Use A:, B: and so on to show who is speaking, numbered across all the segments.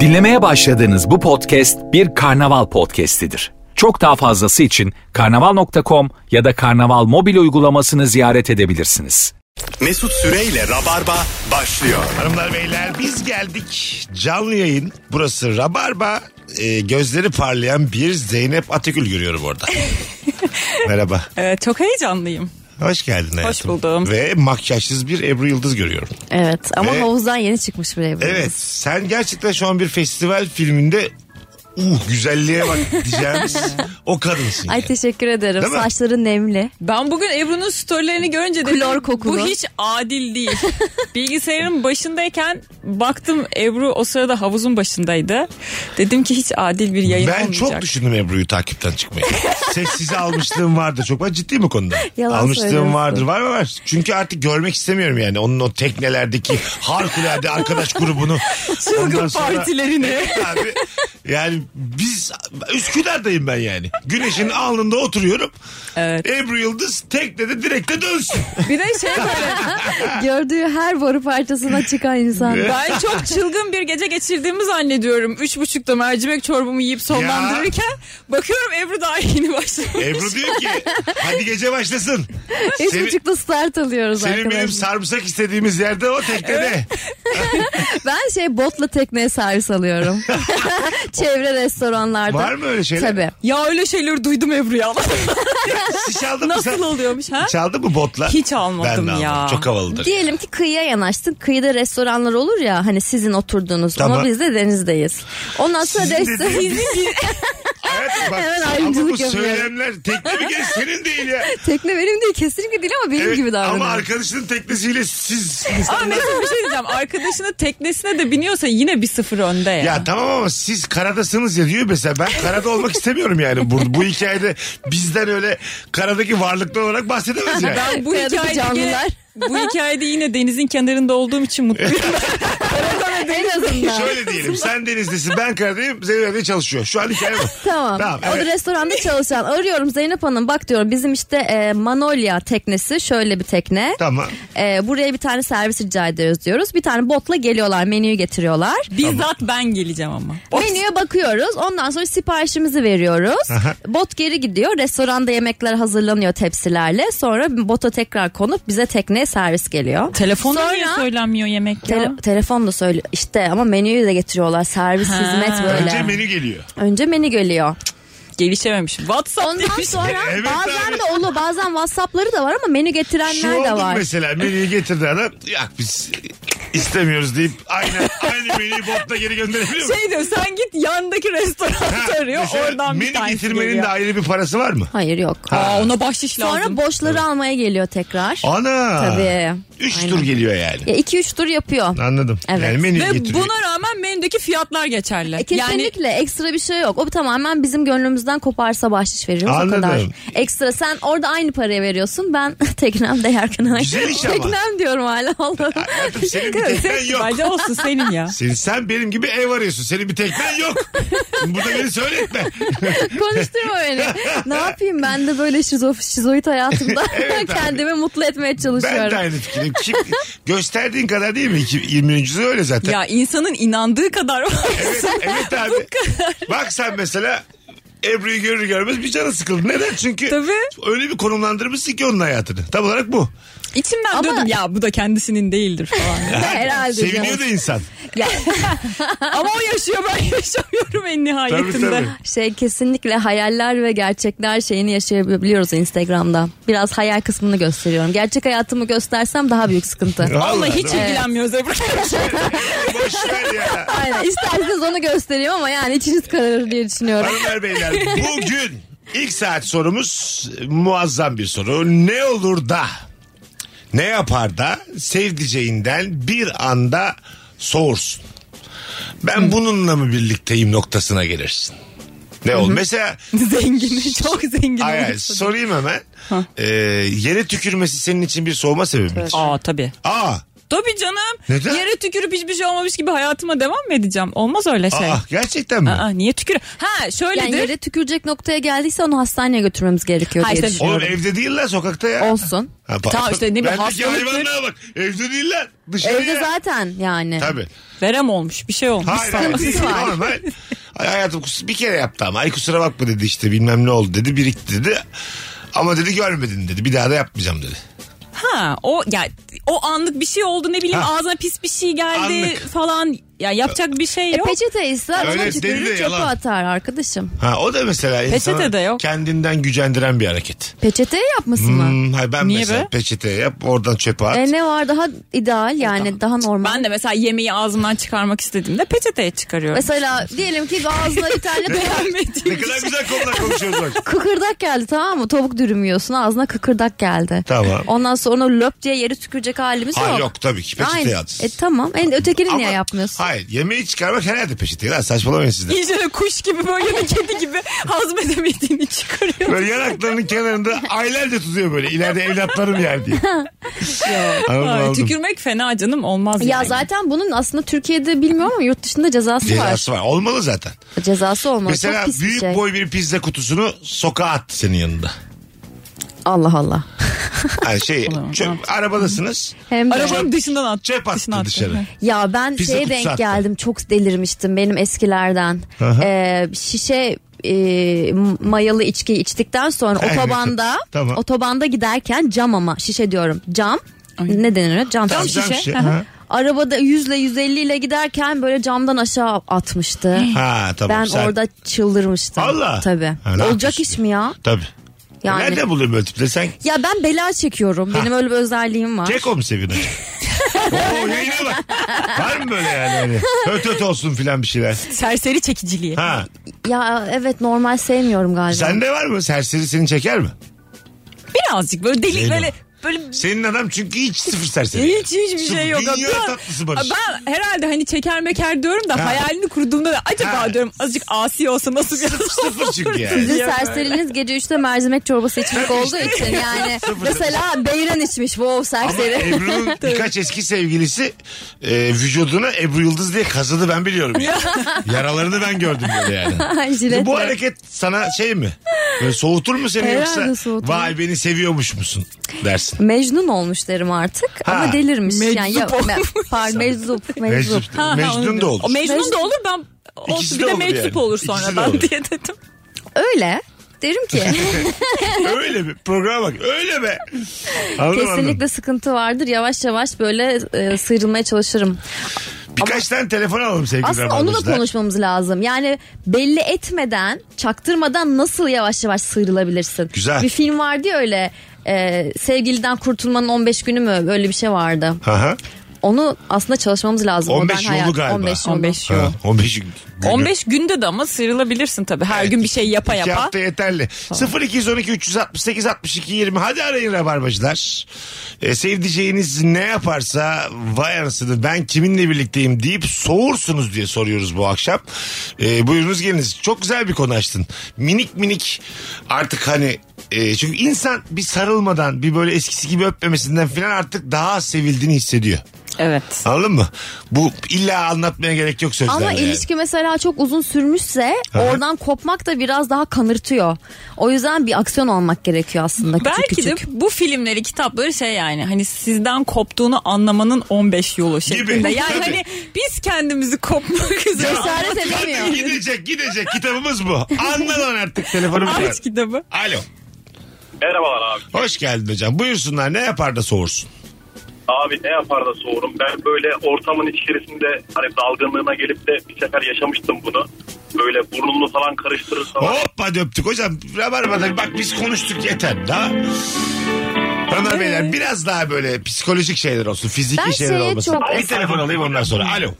A: Dinlemeye başladığınız bu podcast bir karnaval podcastidir. Çok daha fazlası için karnaval.com ya da karnaval mobil uygulamasını ziyaret edebilirsiniz.
B: Mesut Süreyle Rabarba başlıyor.
C: Hanımlar beyler biz geldik. Canlı yayın. Burası Rabarba. Ee, gözleri parlayan bir Zeynep Atakül görüyorum orada. Merhaba.
D: Ee, çok heyecanlıyım.
C: Hoş geldin hayatım.
D: buldum.
C: Ve makyajsız bir Ebru Yıldız görüyorum.
E: Evet ama
C: Ve-
E: havuzdan yeni çıkmış buraya. bu.
C: Evet sen gerçekten şu an bir festival filminde uh güzelliğe bak diyeceğimiz o kadınsın.
E: Ay
C: yani.
E: teşekkür ederim.
C: Değil mi?
E: Saçları nemli.
D: Ben bugün Ebru'nun storylerini görünce dedim
E: Klor kokulu.
D: bu hiç adil değil. Bilgisayarın başındayken baktım Ebru o sırada havuzun başındaydı. Dedim ki hiç adil bir yayın
C: ben
D: olmayacak.
C: çok düşündüm Ebru'yu takipten çıkmayı. Sessize almışlığım vardır çok. Ben ciddiyim bu konuda.
E: Yalan
C: almışlığım
E: söylüyorsun.
C: vardır. Var mı var? Çünkü artık görmek istemiyorum yani. Onun o teknelerdeki harikulade arkadaş grubunu. Ondan
D: Çılgın
C: sonra-
D: partilerini.
C: Evet abi. Yani biz Üsküdar'dayım ben yani. Güneşin alnında oturuyorum.
D: Evet.
C: Ebru Yıldız teknede direkte dönsün.
D: Bir de şey böyle
E: Gördüğü her boru parçasına çıkan insan.
D: ben çok çılgın bir gece geçirdiğimi zannediyorum. Üç buçukta mercimek çorbamı yiyip sonlandırırken bakıyorum Ebru daha yeni başlamış.
C: Ebru diyor ki hadi gece başlasın.
E: Üç
C: Seni-
E: buçukta start alıyoruz
C: Senin
E: arkadaşlar.
C: benim sarımsak istediğimiz yerde o teknede.
E: Ben şey botla tekneye servis alıyorum. Çevre restoranlarda.
C: Var mı öyle şeyler?
E: Tabii.
D: Ya öyle şeyler duydum Ebru ya.
C: Siz çaldın mı sen?
D: Nasıl oluyormuş ha?
C: Çaldın mı botla?
D: Hiç almadım
C: ben de almadım.
D: ya.
C: Çok havalıdır.
E: Diyelim ki kıyıya yanaştın. Kıyıda restoranlar olur ya hani sizin oturduğunuz
C: Tamam.
E: ama biz de denizdeyiz. Ondan sonra
C: Sizin
E: restoran...
C: dediğiniz- Hayatım bak
E: Hemen
C: ama bu
E: ayrımcılık yapıyorum.
C: söylemler tekne mi gel senin değil ya.
E: Tekne benim değil kesinlikle değil ama benim
C: Evet,
E: gibi
C: ama
E: davranıyor.
C: arkadaşının teknesiyle siz
D: Ama Mesut bir şey diyeceğim. Arkadaşının teknesine de biniyorsa yine bir sıfır önde ya.
C: Ya tamam ama siz karadasınız ya diyor mesela ben karada olmak istemiyorum yani bu, bu hikayede bizden öyle karadaki varlıklı olarak bahsedemez yani.
D: ben bu
E: Karadaki
D: hikayede,
E: canlılar.
D: bu hikayede yine denizin kenarında olduğum için mutluyum.
E: en azından.
C: Şöyle diyelim sen denizdesin ben karadayım Zeynep de çalışıyor şu an hikaye bu.
E: Tamam. O
C: evet.
E: da restoranda çalışan. Arıyorum Zeynep Hanım bak diyorum bizim işte e, Manolya teknesi şöyle bir tekne.
C: Tamam.
E: E, buraya bir tane servis rica ediyoruz diyoruz. Bir tane botla geliyorlar menüyü getiriyorlar.
D: Bizzat ben geleceğim ama. O-
E: Menüye bakıyoruz ondan sonra siparişimizi veriyoruz. Bot geri gidiyor restoranda yemekler hazırlanıyor tepsilerle. Sonra bota tekrar konup bize tekneye servis geliyor.
D: Telefonda
E: Sonra-
D: niye söylenmiyor yemek ya?
E: Tele- telefonla söyle işte ama menüyü de getiriyorlar servis
D: Ha.
E: hizmet böyle.
C: Önce
E: Önce,
C: menü geliyor.
E: menü geliyor.
D: Gelişememiş. WhatsApp
E: Ondan
D: demiş.
E: sonra
C: Evet
E: bazen
C: abi.
E: de olu bazen WhatsApp'ları da var ama menü
C: Şu
E: getirenler de
C: Şey oldu
E: var.
C: mesela menüyü getirdi adam. Ya biz istemiyoruz deyip aynı, aynı menüyü botla geri gönderebiliyor mu?
D: Şey diyor sen git yandaki restorana
C: Ha,
D: arıyor
C: mesela
D: oradan bir
C: Menü
D: tanesi
C: getirmenin
D: geliyor.
C: de ayrı bir parası var mı?
E: Hayır yok.
D: Aa, ona bahşiş lazım.
E: Sonra boşları almaya geliyor tekrar.
C: Ana.
E: Tabii.
C: Üç
E: Aynen.
C: tur geliyor yani.
E: Ya iki üç tur yapıyor.
C: Anladım.
E: Evet.
C: Yani menüyü
D: Ve
C: getiriyor.
D: buna rağmen menüdeki fiyatlar geçerli.
E: E, Kesinlikle ekstra bir şey yok. O tamamen bizim gönlümüzden koparsa bahşiş veriyoruz
C: Anladım.
E: o kadar. Ekstra sen orada aynı paraya veriyorsun. Ben teknemde yerken aynı.
C: Güzel iş ama.
E: Teknem diyorum hala. Allah'ım.
C: Hayatım senin bir teknen
D: Yani
C: yok.
D: bence olsun senin ya.
C: Sen, sen benim gibi ev arıyorsun. Senin bir teknen yok. Burada beni söyletme.
E: Konuşturma beni. Ne yapayım ben de böyle şizo, şizoid hayatımda
C: Evet abi.
E: kendimi mutlu etmeye
C: ben de
E: çalışıyorum.
C: aynı fikrim. Kim, gösterdiğin kadar değil mi? İki- 20. yüzyıl öyle zaten.
D: Ya insanın inandığı kadar
C: Evet, evet abi. Bak sen mesela Ebru'yu görür görmez bir canı sıkıldı. Neden? Çünkü
D: Tabii.
C: öyle bir konumlandırmışsın ki onun hayatını. Tam olarak bu.
D: İçimden
E: Ama-
D: diyordum ya bu da kendisinin değildir falan.
E: Herhalde.
C: Seviniyor
E: canım.
C: da insan.
D: Ama o yaşıyor ben yaşamıyorum en
C: Tabii
D: nihayetinde.
C: tabii.
E: Şey kesinlikle hayaller ve gerçekler şeyini yaşayabiliyoruz Instagram'da. Biraz hayal kısmını gösteriyorum. Gerçek hayatımı göstersem daha büyük sıkıntı.
D: Vallahi hiç
C: değil mi?
D: ilgilenmiyoruz Ebru.
C: Boş ver ya.
E: Aynen. İsterseniz onu göstereyim ama yani içiniz kararır diye düşünüyorum.
C: Hanımlar beyler bugün ilk saat sorumuz e, muazzam bir soru. Ne olur da ne yapar da sevdiceğinden bir anda soğursun. Ben bununla mı birlikteyim noktasına gelirsin. Ne ol? Mesela
D: zengin, çok zengin.
C: ay, ay,
D: olursun.
C: sorayım hemen. Ee, yere tükürmesi senin için bir soğuma sebebi midir?
D: Aa tabii.
C: Aa
D: Tabii canım.
C: Neden?
D: Yere tükürüp hiçbir şey olmamış gibi hayatıma devam mı edeceğim? Olmaz öyle şey.
C: Aa, gerçekten mi?
D: Aa, niye tükür? Ha şöyledir.
E: Yani yere tükürecek noktaya geldiyse onu hastaneye götürmemiz gerekiyor
D: Ha
E: diye
D: işte-
E: düşünüyorum.
C: Oğlum evde değil lan sokakta ya.
E: Olsun.
C: Ha, pardon.
D: Tamam işte ne bileyim,
C: Bendeki
D: hastalıktır.
C: hayvanlığa bak. Evde değil lan. Dışarıya.
E: Evde zaten yani.
C: Tabii.
D: Verem olmuş bir şey olmuş.
C: Hayır hayır
E: sıkıntısı
C: değil.
E: var.
C: Normal. Ay, hayatım kus- bir kere yaptı ama. Ay kusura bakma dedi işte bilmem ne oldu dedi. Birikti dedi. Ama dedi görmedin dedi. Bir daha da yapmayacağım dedi.
D: Ha o ya o anlık bir şey oldu ne bileyim
C: Ha.
D: ağzına pis bir şey geldi
C: Anlık.
D: falan. Ya yapacak bir şey
E: E
D: yok.
E: peçete ise
C: Öyle
E: ona
C: dedi de
E: tükürür çöpü
C: yalan.
E: atar arkadaşım.
C: Ha o da mesela insana
D: Peçete de yok.
C: kendinden gücendiren bir hareket.
E: Peçeteye yapmasın mı?
C: Hmm, hayır ben
D: Niye
C: mesela
D: be?
C: peçete yap oradan çöpe at.
E: E ne var daha ideal yani daha normal.
D: ben de mesela yemeği ağzımdan çıkarmak istediğimde peçeteye çıkarıyorum.
E: Mesela diyelim ki ağzına bir tane
C: ne
D: Beğenmediğim
C: kadar güzel konular konuşuyoruz bak.
E: kıkırdak geldi tamam mı? Tavuk dürüm yiyorsun ağzına kıkırdak geldi.
C: Tamam.
E: Ondan sonra löp diye yeri tükürecek halimiz
C: Hayır
E: yok.
C: yok tabii ki peçete
E: Aynen.
C: at.
E: E tamam. E, ötekini
C: Ama-
E: niye yapmıyorsun?
C: Hayır yemeği çıkarmak herhalde peçete. Lan saçmalamayın siz de.
D: İyice de kuş gibi böyle de kedi gibi hazmedemediğini çıkarıyor.
C: Böyle yanaklarının kenarında aylarca tutuyor böyle. İleride evlatlarım yer diye. Anladım,
D: Ay,
C: anladım.
D: tükürmek fena canım olmaz
E: Ya
D: yani.
E: zaten bunun aslında Türkiye'de bilmiyorum ama yurt dışında cezası,
C: Cezası var. Olmalı zaten.
E: var. Cezası olmalı.
C: Mesela
E: Çok pis
C: büyük
E: bir şey.
C: boy bir pizza kutusunu sokağa attı senin yanında.
E: Allah Allah.
C: Yani şey
D: tamam.
C: çöp, arabadasınız
E: Hem de-
D: Arabanın dışından at.
C: çöp attı
D: Dışına attı.
C: dışarı.
E: Ya ben
C: Pizza
E: şeye
C: kutusu
E: denk
C: hatta.
E: geldim çok delirmiştim benim eskilerden. Ee, şişe e, mayalı içki içtikten sonra
C: Evet.
E: otobanda
C: Tamam.
E: otobanda giderken cam ama şişe diyorum cam ne denir ona? cam,
C: Cam
E: şişe.
C: şişe, ha.
E: Arabada 100 ile 150 ile giderken böyle camdan aşağı atmıştı.
C: Ha tamam.
E: ben
C: sen-
E: orada çıldırmıştım.
C: Valla.
E: Tabii.
C: Ha, ne
E: Olacak
C: yapıyorsun?
E: iş mi ya?
C: Tabii.
E: Yani-
C: Nerede buluyor böyle tipleri? Sen
E: Ya ben bela çekiyorum. Benim öyle bir özelliğim var.
C: Ceko mu seviyorsun? Oo yayına bak. Var mı böyle yani? Hani, höt höt olsun filan bir şeyler.
D: Serseri çekiciliği.
C: Ha.
E: Ya evet normal sevmiyorum galiba.
C: Sende var mı? Serseri seni çeker mi?
D: Birazcık böyle deli
C: Zeyno.
D: böyle böyle
C: Senin adam çünkü hiç sıfır serseri.
D: hiç hiçbir
C: Sıfır.
D: şey yok.
C: Dünya
D: Ama-
C: tatlısı Barış.
D: Ben herhalde hani çeker meker diyorum da
C: Ha.
D: hayalini kurduğumda da acaba
C: Ha.
D: diyorum azıcık asi olsa nasıl bir
C: Sıfır sıfır çünkü yani.
E: Sizin
D: Ya böyle.
E: serseriniz gece 3'te mercimek çorbası içmek olduğu için yani mesela beyran içmiş wow
C: Ama
E: serseri.
C: Ebru'nun birkaç eski sevgilisi e, vücuduna Ebru Yıldız diye kazıdı ben biliyorum. Yani. Yaralarını ben gördüm böyle yani.
E: Jiletle.
C: e, Bu hareket sana şey mi? Böyle soğutur mu seni
E: Herhalde
C: yoksa
E: soğutur.
C: vay beni seviyormuş musun dersin.
E: Mecnun olmuş derim artık
C: Ha.
E: ama delirmiş. yani ya,
D: Meczup
E: me- pardon meczup, meczup.
C: Meczup. Mecnun da olur.
D: O Mecnun
E: Mecnun.
D: da olur ben
C: İkisi
D: olsun
C: de
D: bir de
C: olur
D: meczup
C: yani.
D: olur
C: İkisi de
D: sonradan
C: olur.
D: diye dedim.
E: Öyle derim ki
C: öyle mi? Programa bak öyle be. Anladım,
E: kesinlikle
C: anladım.
E: sıkıntı vardır. Yavaş yavaş böyle e, sıyrılmaya çalışırım.
C: Birkaç tane telefon alalım sevgili
E: Aslında onu da
C: Rabarbacılar.
E: konuşmamız lazım. Yani belli etmeden, çaktırmadan nasıl yavaş yavaş sıyrılabilirsin?
C: Güzel.
E: Bir film vardı ya öyle. e, sevgiliden kurtulmanın 15 günü mü? Böyle bir şey vardı.
C: Aha.
E: Onu aslında çalışmamız lazım.
C: 15
E: Modern
C: yolu
E: hayat,
C: galiba.
E: 15 yolu.
D: 15
C: Ha,
D: yıl.
C: 15 günü.
D: 15 günde de ama sıyrılabilirsin tabii. Her gün bir şey yapa
C: İki
D: yapa.
C: hafta yeterli. 0212 368 62 20. Hadi arayın rabarbacılar. E, sevdiceğiniz ne yaparsa vay anasını ben kiminle birlikteyim deyip soğursunuz diye soruyoruz bu akşam. E, buyurunuz geliniz. Çok güzel bir konu açtın. Minik minik artık hani e, çünkü insan bir sarılmadan bir böyle eskisi gibi öpmemesinden filan artık daha az sevildiğini hissediyor.
D: Evet.
C: Anladın mı? Bu illa anlatmaya gerek yok sözlerle.
E: Ama
C: yani.
E: ilişki mesela çok uzun sürmüşse oradan kopmak da biraz daha kanırtıyor. O yüzden bir aksiyon almak gerekiyor aslında küçük
D: Belki
E: küçük.
D: de bu filmleri, kitapları şey yani hani sizden koptuğunu anlamanın 15 yolu şeklinde. Yani
C: Tabii.
D: hani biz kendimizi kopmak üzere.
E: Cesaret edemiyor.
C: Gidecek gidecek kitabımız bu. Anla lan artık telefonumuz var.
D: Aç kitabı.
C: Alo.
F: Merhabalar abi.
C: Hoş geldin hocam. Buyursunlar ne yapar da soğursun.
F: Abi ne yapar da soğurum. Ben böyle ortamın içerisinde hani dalgınlığına gelip de bir sefer yaşamıştım bunu. Böyle burnumla falan karıştırır falan.
C: Hoppa döptük hocam. Rabarbada bak biz konuştuk yeter. Daha... Hanımlar beyler biraz daha böyle psikolojik şeyler olsun. Fiziki
E: Ee? Ben
C: şeyler
E: şeye
C: olmasın.
E: çok-
C: Bir telefon alayım ondan sonra. Alo.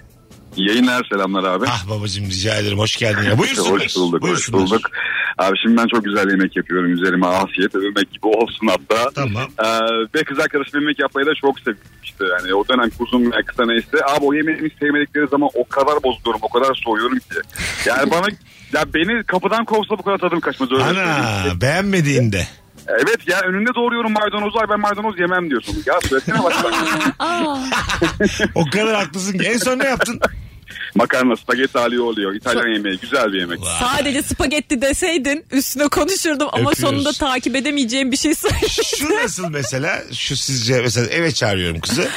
G: Yayınlar selamlar abi.
C: Ah e, babacığım rica ederim. Hoş geldin. Ya. Buyursunlar.
G: hoş bulduk, hoş
C: Buyursunlar.
G: bulduk. Abi şimdi ben çok güzel yemek yapıyorum. Üzerime afiyet övmek gibi olsun hatta.
C: Tamam.
G: Ee, ve kız arkadaşım yemek yapmayı da çok sevmişti. Yani o dönem uzun veya kısa neyse. Abi o yemeğimi sevmedikleri zaman o kadar bozuluyorum, o kadar soğuyorum ki. Yani bana ya beni kapıdan kovsa bu kadar tadım kaçmaz öyle. söyleyeyim.
C: Ana beğenmediğinde.
G: Evet ya önünde doğruyorum maydanozu. Ay ben maydanoz yemem diyorsun. Ya söylesene bak.
C: O kadar haklısın. ki. En son ne yaptın?
G: Makarna spagetti alio oluyor. İtalyan yemeği güzel bir yemek.
D: Sadece spagetti deseydin üstüne konuşurdum ama
C: Öpüyoruz.
D: sonunda takip edemeyeceğim bir şey söyledim.
C: Şu nasıl mesela? Şu sizce mesela eve çağırıyorum kızı.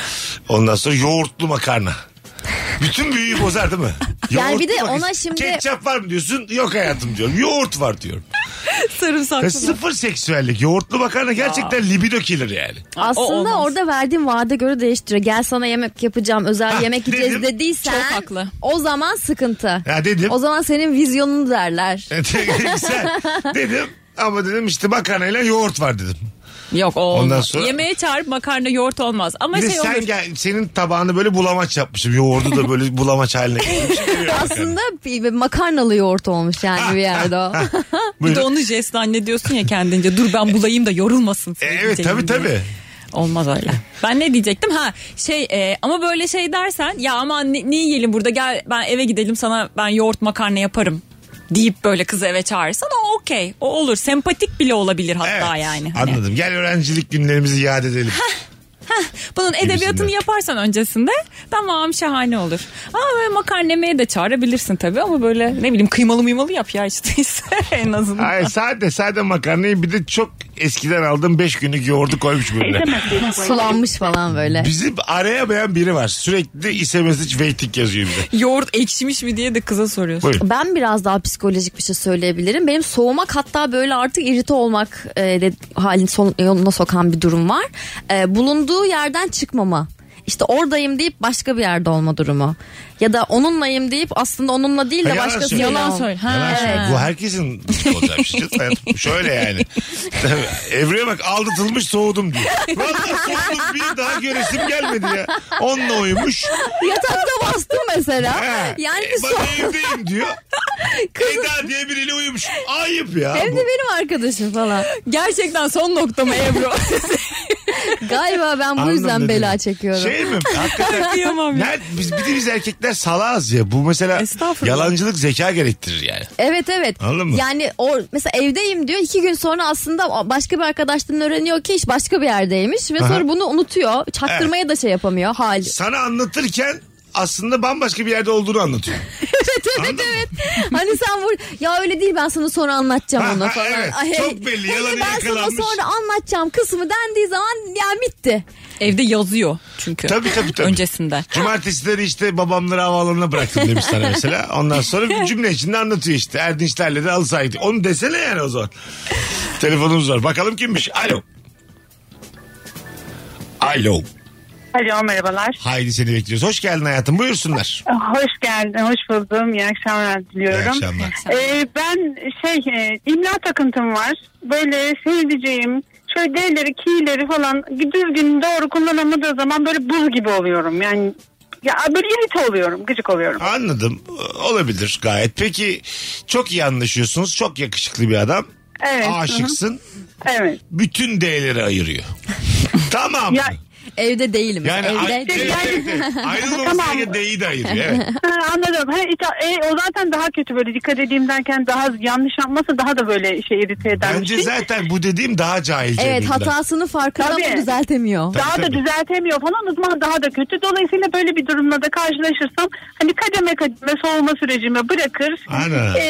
C: Ondan sonra yoğurtlu makarna. Bütün büyüyü bozar değil mi?
E: Yani bir de
C: Yoğurtlu makarna.
E: ona şimdi-
C: Ketçap var mı diyorsun? Yok hayatım diyorum. Yoğurt var diyorum. Ya
D: Sarımsaklı.
C: sıfır seksüellik. Yoğurtlu makarna gerçekten libido killer yani.
E: Aslında
D: olmaz.
E: orada verdiğim vaade göre değiştiriyor. Gel sana yemek yapacağım, özel
C: Ha,
E: yemek
C: dedim.
E: yiyeceğiz dediysen
D: Çok haklı.
E: o zaman sıkıntı.
C: Ya dedim.
E: O zaman senin vizyonunu derler.
C: Güzel. Dedim ama dedim işte makarnayla yoğurt var dedim.
D: Yok o olmaz.
C: Ondan sonra-
D: Yemeğe çağırıp makarna yoğurt olmaz. Ama
C: Bir de
D: şey
C: sen
D: olur.
C: gel, senin tabağını böyle bulamaç yapmışım. Yoğurdu da böyle bulamaç haline getirmişim.
E: Aslında bir- bir makarnalı yoğurt olmuş yani bir yerde o.
D: Bir de
C: Buyurun.
D: onu jest zannediyorsun ya kendince. Dur ben bulayım da yorulmasın.
C: E, evet
D: sevdiceğim
C: tabii
D: diye.
C: tabii.
D: Olmaz öyle. Ben ne diyecektim? Ha şey e, ama böyle şey dersen ya aman ne, ne yiyelim burada gel ben eve gidelim sana ben yoğurt makarna yaparım deyip böyle kızı eve çağırırsan o okey. O olur. Sempatik bile olabilir hatta
C: Evet,
D: yani. Hani.
C: Anladım. Gel öğrencilik günlerimizi iade edelim.
D: Bunun edebiyatını
C: Gibisinden.
D: yaparsan öncesinde tamam şahane olur. Ama böyle makarna yemeğe de çağırabilirsin tabii ama böyle ne bileyim kıymalı mıymalı yap ya işte en azından.
C: Ay sade sade makarnayı bir de çok eskiden aldığım 5 günlük yoğurdu koymuş böyle.
E: Sulanmış falan böyle.
C: Bizim arayamayan biri var. Sürekli ise mesaj waiting yazıyor bize.
D: Yoğurt ekşimiş mi diye de kıza soruyorsun.
C: Buyurun.
E: Ben biraz daha psikolojik bir şey söyleyebilirim. Benim soğumak hatta böyle artık irite olmak e, de, halini son- yoluna sokan bir durum var. E, bulunduğu yerden çıkmama. İşte oradayım deyip başka bir yerde olma durumu. Ya da onunlayım deyip aslında onunla değil
C: Ha,
E: de
C: yalan
E: başkasıyla.
C: söylüyor.
D: Yalan
E: ol-
D: söyle. Ha.
C: Yalan söylüyor. Bu herkesin olacağı bir şey. Hayatım, Şöyle yani. Tabii, Evreye bak aldatılmış soğudum diyor. Vallahi soğudum bir daha göresim gelmedi ya. Onunla uyumuş.
E: Yatakta bastım mesela.
C: Ha.
E: Yani
C: E,
E: so-
C: ben evdeyim diyor. Eda diye biriyle uyumuş. Ayıp ya.
E: hem de
C: Bu-
E: benim arkadaşım falan.
D: Gerçekten son noktama Ebru.
E: Galiba ben bu
C: Anladım
E: yüzden
C: dedim.
E: bela çekiyorum.
C: Şey mi? Hakikaten.
D: Kıyamam ya.
C: Nerede, biz, bir de biz erkekler salağız ya. Bu mesela
D: Estağfurullah.
C: yalancılık zeka gerektirir yani.
E: Evet evet.
C: Anladın mı?
E: Yani o mesela evdeyim diyor. iki gün sonra aslında başka bir arkadaştan öğreniyor ki iş başka bir yerdeymiş ve
C: Aha.
E: sonra bunu unutuyor. Çaktırmaya da şey yapamıyor hal.
C: Sana anlatırken aslında bambaşka bir yerde olduğunu anlatıyor.
E: evet evet evet. Hani sen vur ya öyle değil ben sana sonra
C: Ha,
E: anlatacağım onu
C: ha,
E: falan.
C: evet.
E: Ay,
C: Çok
E: hey.
C: belli,
E: Hey,
C: yalanı
E: ben sana
C: yakalanmış.
E: sonra anlatacağım kısmı dendiği zaman ya bitti.
D: Evde yazıyor çünkü.
C: Tabii, tabii, tabii.
D: Öncesinde.
C: Cumartesileri işte babamları havaalanına bıraktım demiş sana mesela. Ondan sonra bir cümle içinde anlatıyor işte. Erdinçlerle de alsaydı. Onu desene yani o zaman. Telefonumuz var. Bakalım kimmiş? Alo. Alo.
H: Alo merhabalar.
C: Haydi seni bekliyoruz. Hoş geldin hayatım. Buyursunlar.
H: Hoş geldin, hoş buldum. İyi akşamlar diliyorum.
C: İyi akşamlar.
H: Ee, ben şey e, imla takıntım var. Böyle sevdiceğim şöyle D'leri, ki'leri falan düzgün doğru kullanamadığı zaman böyle buz gibi oluyorum. Yani ya böyle irite oluyorum, gıcık oluyorum.
C: Anladım. Olabilir gayet. Peki çok iyi anlaşıyorsunuz. Çok yakışıklı bir adam.
H: Evet,
C: Aşıksın.
H: Evet.
C: Bütün D'leri ayırıyor. tamam.
H: Ya
C: mı?
E: Evde değilim.
C: Yani
E: Evde
C: ay-
E: değilim.
C: evet, evet, evet. ayrılmaması
H: Tamam.
C: gereken D'yi de ayırıyor. Evet.
H: ha, anladım. Ha, ita- e, o zaten daha kötü böyle dikkat edeyim derken daha yanlış yapması daha da böyle şey irite eden bir
C: Bence
H: şey.
C: zaten bu dediğim daha cahilce.
E: Evet
C: bir laf.
E: hatasını farkında ama
H: Tabii.
E: düzeltemiyor.
C: Tabii,
H: daha
C: tabii.
H: da düzeltemiyor falan o zaman daha da kötü. Dolayısıyla böyle bir durumla da karşılaşırsam hani kademe kademe soğuma sürecime bırakır.
C: Aynen.
H: Ee,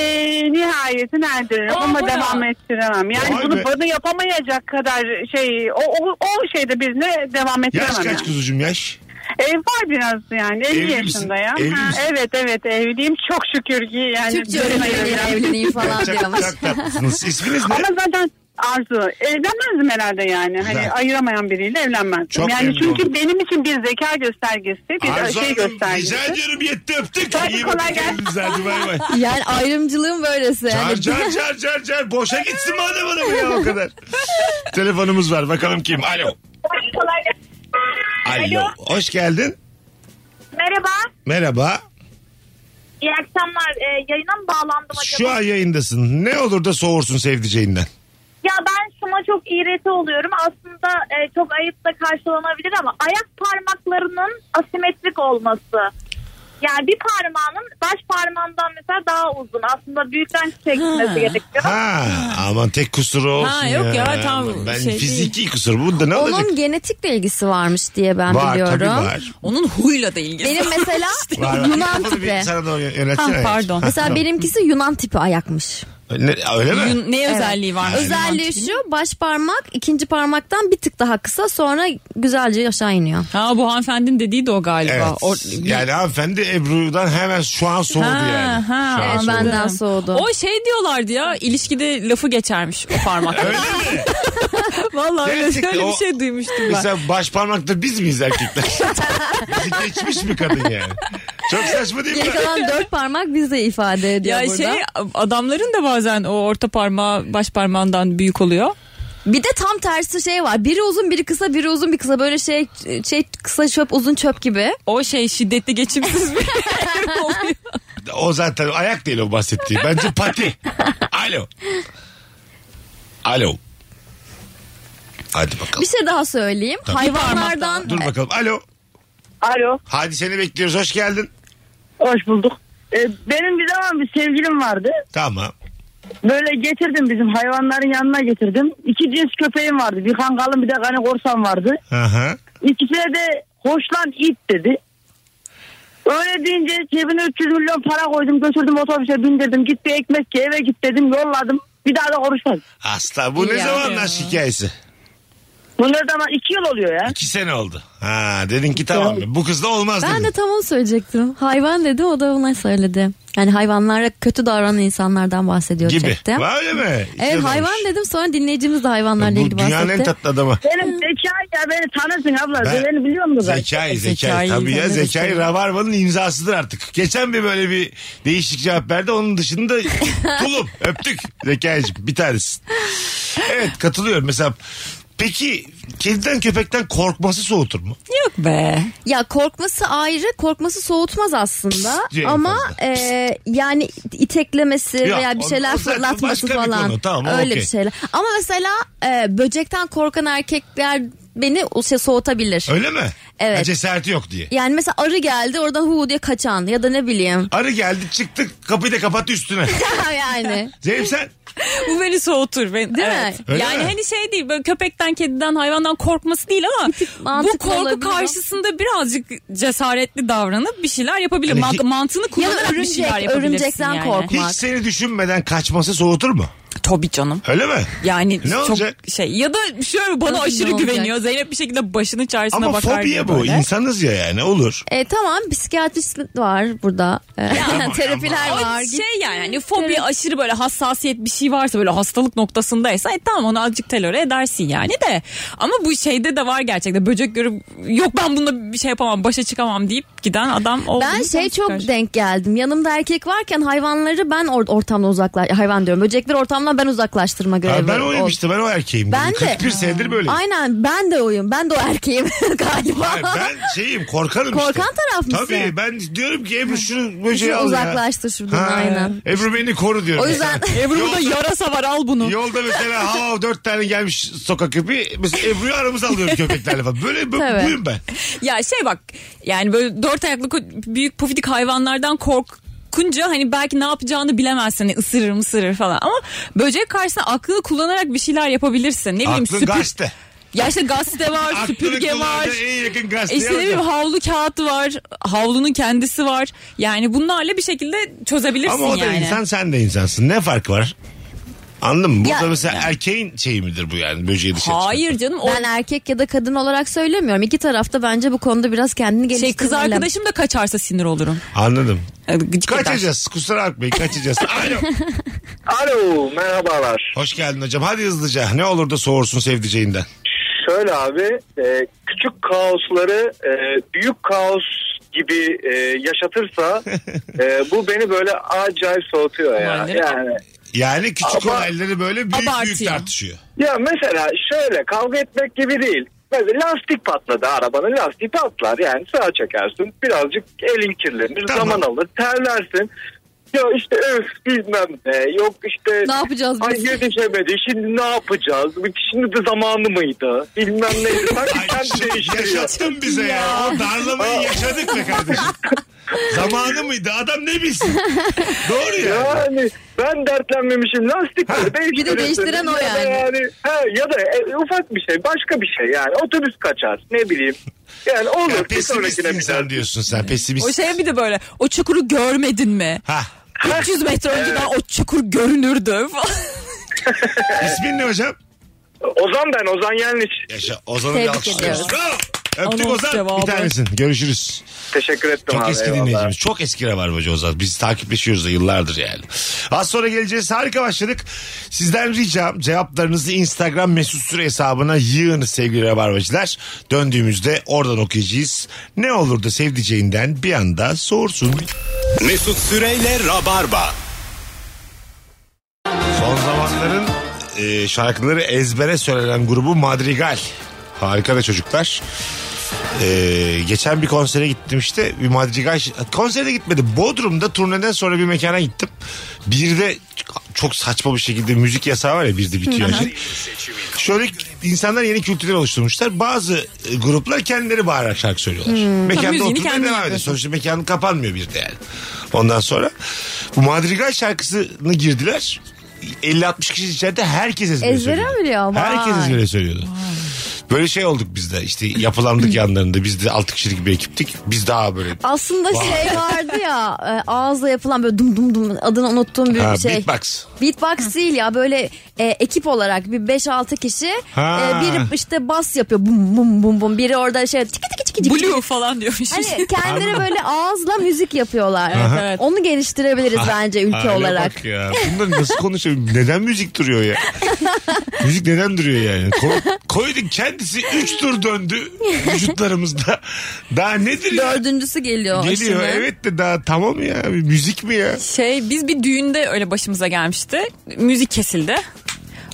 H: nihayetini erdiririm
D: Aa,
H: ama
D: bravo.
H: devam ettiremem. Yani
C: Vay
H: bunu
C: be.
H: bana yapamayacak kadar şey o, o, o şeyde birine devam
C: Yaş
H: ettiremem.
C: kaç
H: yani.
C: kuzucuğum yaş?
H: Ee, var biraz yani 50
C: Evli misin?
H: yaşında ya.
C: Evli
H: Ha,
C: misin?
H: evet evet evliyim çok şükür ki yani.
E: Türkçe öğretmeniyle evleneyim falan
C: Çok,
E: diyormuş.
C: çok tatlısınız. İsminiz ne?
H: Ama zaten Arzu evlenmezdim herhalde yani. Hani
C: Güzel.
H: ayıramayan biriyle evlenmezdim.
C: Çok
H: yani
C: memnun
H: çünkü
C: oldum.
H: benim için bir zeka göstergesi, bir
C: Arzu
H: şey
C: Hanım
H: göstergesi.
C: rica ediyorum yetti öptük.
H: Hadi
C: İyi
H: kolay
C: bakın
H: gelsin.
C: kendinize. Hadi bay bay.
E: Yani ayrımcılığın böylesi. Hani
C: Car
E: Yani
C: car car car car. Boşa gitsin madem hanım ya o kadar. Telefonumuz var bakalım kim? Alo. Alo. Hoş geldin.
I: Merhaba.
C: Merhaba.
I: İyi akşamlar. Ee, yayına mı bağlandım acaba?
C: Şu an yayındasın. Ne olur da soğursun sevdiceğinden.
I: Ya ben şuna çok iğreti oluyorum. Aslında e, çok ayıp da karşılanabilir ama ayak parmaklarının asimetrik olması. Yani bir parmağının baş parmağından mesela daha uzun. Aslında büyükten çekmesi gerekiyor.
C: Ha, aman tek kusuru olsun
D: Ha, yok ya, tam
C: Aman, Ben
D: şey
C: fiziki kusur. Bunda ne olacak?
E: Onun genetikle ilgisi varmış diye ben
C: var
E: biliyorum.
C: tabii var.
D: Onun huyla da ilgili.
E: Benim mesela
C: Var, var.
E: Yunan
C: Kafamı bir
E: tipi.
C: Sana doğru yönetsene.
D: Ha, Ah, pardon.
E: Mesela benimkisi Yunan tipi ayakmış.
C: Ne- öyle mi?
D: Yun- ne özelliği var?
E: Özelliği şu baş parmak ikinci parmaktan bir tık daha kısa sonra güzelce aşağı iniyor.
D: Ha bu hanımefendinin dediği de o galiba.
C: Evet.
D: O- bir-
C: Yani hanımefendi Ebru'dan hemen şu an soğudu
D: Ha,
C: yani.
D: ha,
C: şu an
E: Aa,
D: anladım.
C: soğudu.
E: benden soğudu.
D: O şey diyorlardı ya ilişkide lafı geçermiş o parmak.
C: Öyle mi?
D: Vallahi öyle,
C: Gerçekten
D: öyle
C: o-
D: bir şey duymuştum ben.
C: Mesela baş parmakta biz miyiz erkekler? Bizi geçmiş mi kadın yani? Çok saçma değil mi?
E: Geri kalan dört parmak bize ifade ediyor
D: ya
E: burada.
D: şey adamların da bazen o orta parmağı baş parmağından büyük oluyor.
E: Bir de tam tersi şey var. Biri uzun biri kısa biri uzun bir kısa böyle şey şey kısa çöp uzun çöp gibi.
D: O şey şiddetli geçimsiz bir herif oluyor.
C: O zaten ayak değil o bahsettiği. Bence pati. Alo. Alo. Hadi bakalım.
E: Bir şey daha söyleyeyim. Hayvanlardan
C: Dur bakalım. Alo.
H: Alo.
C: Hadi seni bekliyoruz. Hoş geldin.
H: Hoş bulduk. Ee, benim bir zaman bir sevgilim vardı.
C: Tamam.
H: Böyle getirdim bizim hayvanların yanına getirdim. İki cins köpeğim vardı. Bir kangalım bir de gani korsan vardı.
C: Hı hı.
H: İkisine de hoşlan it dedi. Öyle deyince cebine 300 milyon para koydum götürdüm otobüse bindirdim. Gitti ekmek ye, eve git dedim yolladım. Bir daha da konuşmadım.
C: Asla. Bu ne
D: Ya.
C: zamanlar hikayesi?
H: Bu ne zaman 2 yıl oluyor ya.
C: İki sene oldu. Ha dedin ki tamam. Bu kız da olmaz
E: Ben
C: dedin.
E: de tam onu söyleyecektim. Hayvan dedi o da ona söyledi. Yani hayvanlara kötü davranan insanlardan bahsediyor
C: gibi.
E: çektim.
C: Var öyle mi? İki
E: Evet
C: sene
E: hayvan
C: olmuş.
E: dedim sonra dinleyicimiz de hayvanlarla
C: Bu
E: ilgili
C: dünyanın en
E: bahsetti.
C: tatlı adamı.
H: Benim zekayı ya beni tanırsın abla.
C: Ben-
H: Beni biliyor musun ben?
C: Zekai, zekai.
D: Zekai,
C: Tabii ya
D: tabii
C: zekai
D: zekai.
C: Rabarba'nın imzasıdır artık. Geçen bir böyle bir değişik cevap verdi. Onun dışında tulum öptük. Zekai'cim bir tanesin. Evet katılıyorum. Mesela peki kediden köpekten korkması soğutur mu?
D: Yok be.
E: Ya korkması ayrı, korkması soğutmaz aslında.
C: Pist diye
E: Ama
C: fazla.
E: e, yani iteklemesi
C: Yok,
E: veya bir
C: o-
E: şeyler
C: o zaten başka
E: fırlatması
C: bir
E: falan.
C: konu, tamam, o
E: Öyle
C: okey.
E: bir şeyler. Ama mesela e, böcekten korkan erkekler beni o şey soğutabilir.
C: Öyle mi?
E: Evet.
C: Ha, cesareti yok diye.
E: Yani mesela arı geldi oradan hu diye kaçan ya da ne bileyim.
C: Arı geldi çıktık kapıyı da kapattı üstüne.
E: yani.
C: Zeynep sen
D: Bu beni soğutur. Ben,
E: Değil mi?
D: evet.
C: Öyle
D: yani
C: mi?
D: hani şey değil böyle köpekten, kediden, hayvandan korkması değil ama bu
E: mantıklı
D: korku
E: olabilir.
D: karşısında birazcık cesaretli davranıp bir şeyler yapabilir.
C: Yani
D: Ma-
C: Hani hi-
D: mantığını kullanarak bir
E: örümcek,
D: şeyler yapabilirsin
E: örümcekten
D: yani.
E: kork.
C: hiç
E: Bak.
C: seni düşünmeden kaçması soğutur mu?
D: Tabii canım.
C: Öyle mi?
D: Yani
C: Ne
D: çok
C: olacak?
D: şey ya da şöyle bana
E: Nasıl
D: aşırı
E: ne olacak?
D: güveniyor. Zeynep bir şekilde başının çaresine
C: Ama
D: bakar.
C: fobiye
D: diye
C: bu.
D: böyle.
C: İnsanız ya yani olur.
E: E, tamam psikiyatrist var burada. E,
C: tamam,
E: terapiler
D: O
E: var.
D: şey yani hani fobi aşırı böyle hassasiyet bir şey varsa böyle hastalık noktasındaysa e, tamam onu azıcık telore edersin yani de. Ama bu şeyde de var gerçekten böcek görüp yok ben bununla bir şey yapamam başa çıkamam deyip giden adam olduğunu
E: Ben şey
D: sen
E: çok
D: çıkar.
E: denk geldim. Yanımda erkek varken hayvanları ben or- ortamdan uzaklaş hayvan diyorum. Böcekleri ortamdan ben uzaklaştırma görevi.
C: Ha, ben oyum
E: oldu.
C: işte ben o erkeğim.
E: Ben de.
C: 41 senedir böyleyim.
E: Aynen ben de oyum. Ben de o erkeğim galiba.
C: Hayır, ben şeyim korkarım işte.
E: Korkan taraf mısın?
C: Tabii ben diyorum ki Ebru şunu
E: Şunu
C: böceği al
E: uzaklaştır
C: şey ya.
E: şuradan
C: Ha,
E: aynen.
C: Ebru beni koru diyorum.
E: O yüzden-
C: Mesela.
D: Ebru'da
C: Yolda-
D: yarasa var al bunu.
C: Yolda mesela hava dört tane gelmiş sokak köpeği. Mesela Ebru'yu aramıza alıyorum köpeklerle falan. Böyle bu,
E: Tabii.
C: buyum ben.
D: Ya şey bak yani böyle dört ayaklı ko- büyük pufidik hayvanlardan korkunca hani belki ne yapacağını bilemezsin hani ısırır mısırır falan ama böcek karşısında aklını kullanarak bir şeyler yapabilirsin ne bileyim
C: Aklın
D: süpür
C: gazete.
D: ya işte gazete var süpürge
C: Aklını
D: var
C: kulağına en yakın
D: E işte ne
C: gazeteye
D: bileyim
C: alacağım.
D: havlu kağıdı var havlunun kendisi var yani bunlarla bir şekilde çözebilirsin
C: Ama o da
D: yani.
C: insan sen de insansın. Ne farkı var? Anladın mı? Burada
E: Ya-
C: mesela erkeğin şeyi midir bu yani böceği dışarı
D: Hayır canım o şey,
E: Ben erkek ya da kadın olarak söylemiyorum. İki tarafta bence bu konuda biraz kendini
D: şey
E: geliştirmeli.
D: kız arkadaşım da kaçarsa sinir olurum.
C: çıkmak? Anladım.
D: E, Gıcık eder.
C: Kaçacağız. Kusura bakmayın kaçacağız. Alo.
J: Alo merhabalar.
C: Hoş geldin hocam. Hadi hızlıca. Ne olur da soğursun sevdiceğinden.
J: Şöyle abi e, küçük kaosları e, büyük kaos gibi e, yaşatırsa e, bu beni böyle acayip soğutuyor ya.
D: Olayları-
J: Yani
C: Yani küçük
J: Ama-
C: olayları böyle büyük büyük
D: Abartıyor.
C: tartışıyor.
J: ya mesela şöyle kavga etmek gibi değil. Mesela lastik patladı arabanın lastiği patlar yani sağa çekersin birazcık elin kirlenir
C: Tamam.
J: zaman alır terlersin. Ya işte öf bilmem ne yok işte
E: Ne yapacağız
J: Ay
E: biz?
J: yetişemedi. Şimdi ne yapacağız? Şimdi de zamanı mıydı? Bilmem neydi. Sanki
C: Ay, şey,
J: kendi
C: şimdi
J: değiştiriyor.
C: yaşattın bize ya. O darlamayı yaşadık be kardeşim. Zamanı mıydı? Adam ne bilsin? Doğru ya.
J: Yani ben dertlenmemişim lastikleri değiştirirsin.
E: Bir de değiştiren o
J: Ya da
E: yani.
J: ha, ya da e, ufak bir şey başka bir şey yani otobüs kaçar ne bileyim. Yani olur
C: Ya
J: bir
C: pesimist
J: sonrakine bir
C: insan diyorsun sen pesimist.
D: O şey- şeye bir de böyle o çukuru görmedin mi?
C: Ha.
D: 300 metre önceden o çukur görünürdü falan.
C: İsmin ne hocam?
J: Ozan ben Ozan Yenliç.
C: Yaşa Ozan'ı bir
E: Tebrik
C: alkışlıyoruz.
E: ediyoruz.
C: Bravo. Öptük
D: Anons
C: Ozan.
D: cevabı.
C: Bir tanesin. Görüşürüz.
J: Teşkkür ettim
C: Çok
J: abi.
C: eski
J: eyvallah.
C: dinleyicimiz. Çok eski Rabarbacı Ozan. Biz takipleşiyoruz da yıllardır yani. Az sonra geleceğiz. Harika başladık. Sizden ricam cevaplarınızı Instagram mesut süre hesabına yığınız sevgili Rabarbacılar. Döndüğümüzde oradan okuyacağız. Ne olur da sevdiceğinden bir anda soğursun.
B: Mesut Süreyle Rabarba.
C: Son zamanların e, şarkıları ezbere söylenen grubu Madrigal. Harika da çocuklar. E, geçen bir konsere gittim işte. Bir Madrigal konsere gitmedim. Bodrum'da turneden sonra bir mekana gittim. Bir de çok saçma bir şekilde müzik yasağı var ya bir de bitiyor. şey. Şöyle insanlar yeni kültürler oluşturmuşlar. Bazı e, gruplar kendileri bağırarak şarkı söylüyorlar.
E: Hmm.
D: Ha,
C: Mekanda
D: müziğini
C: oturmaya devam
D: kendin
C: ediyor.
D: yapıyorsun.
C: Sonuçta mekanın kapanmıyor bir de yani. Ondan sonra bu Madrigal şarkısını girdiler. 50-60 kişi içeride herkes ezbere,
E: Ezbere
C: söylüyordu.
E: mi biliyor? Vay.
C: Herkes ezbere söylüyordu. Böyle şey olduk biz de işte yapılandık yanlarında biz de 6 kişilik bir ekiptik. Biz daha böyle
E: Aslında şey vardı ya e, ağızla yapılan böyle dum dum dum adını unuttuğum bir
C: ha,
E: şey.
C: beatbox.
E: Beatbox değil ya böyle e, ekip olarak bir 5-6 kişi
C: Ha.
E: e, biri işte bas yapıyor bum bum bum bum biri orada şey tiki tiki tiki tiki.
D: Blue falan diyormuş.
E: Hani kendileri böyle ağızla müzik yapıyorlar.
D: Evet.
E: Onu geliştirebiliriz bence ülke
C: Aile
E: olarak.
C: Bak ya. Bunlar nasıl konuşuyor? Neden müzik duruyor ya? müzik neden duruyor yani? Ko- koyduk kendisi 3 tur döndü vücutlarımızda. Daha nedir ya?
E: Dördüncüsü geliyor.
C: Geliyor
E: şimdi.
C: evet de daha tamam ya. Bir müzik mi ya?
D: Şey biz bir düğünde öyle başımıza gelmişti. Müzik kesildi.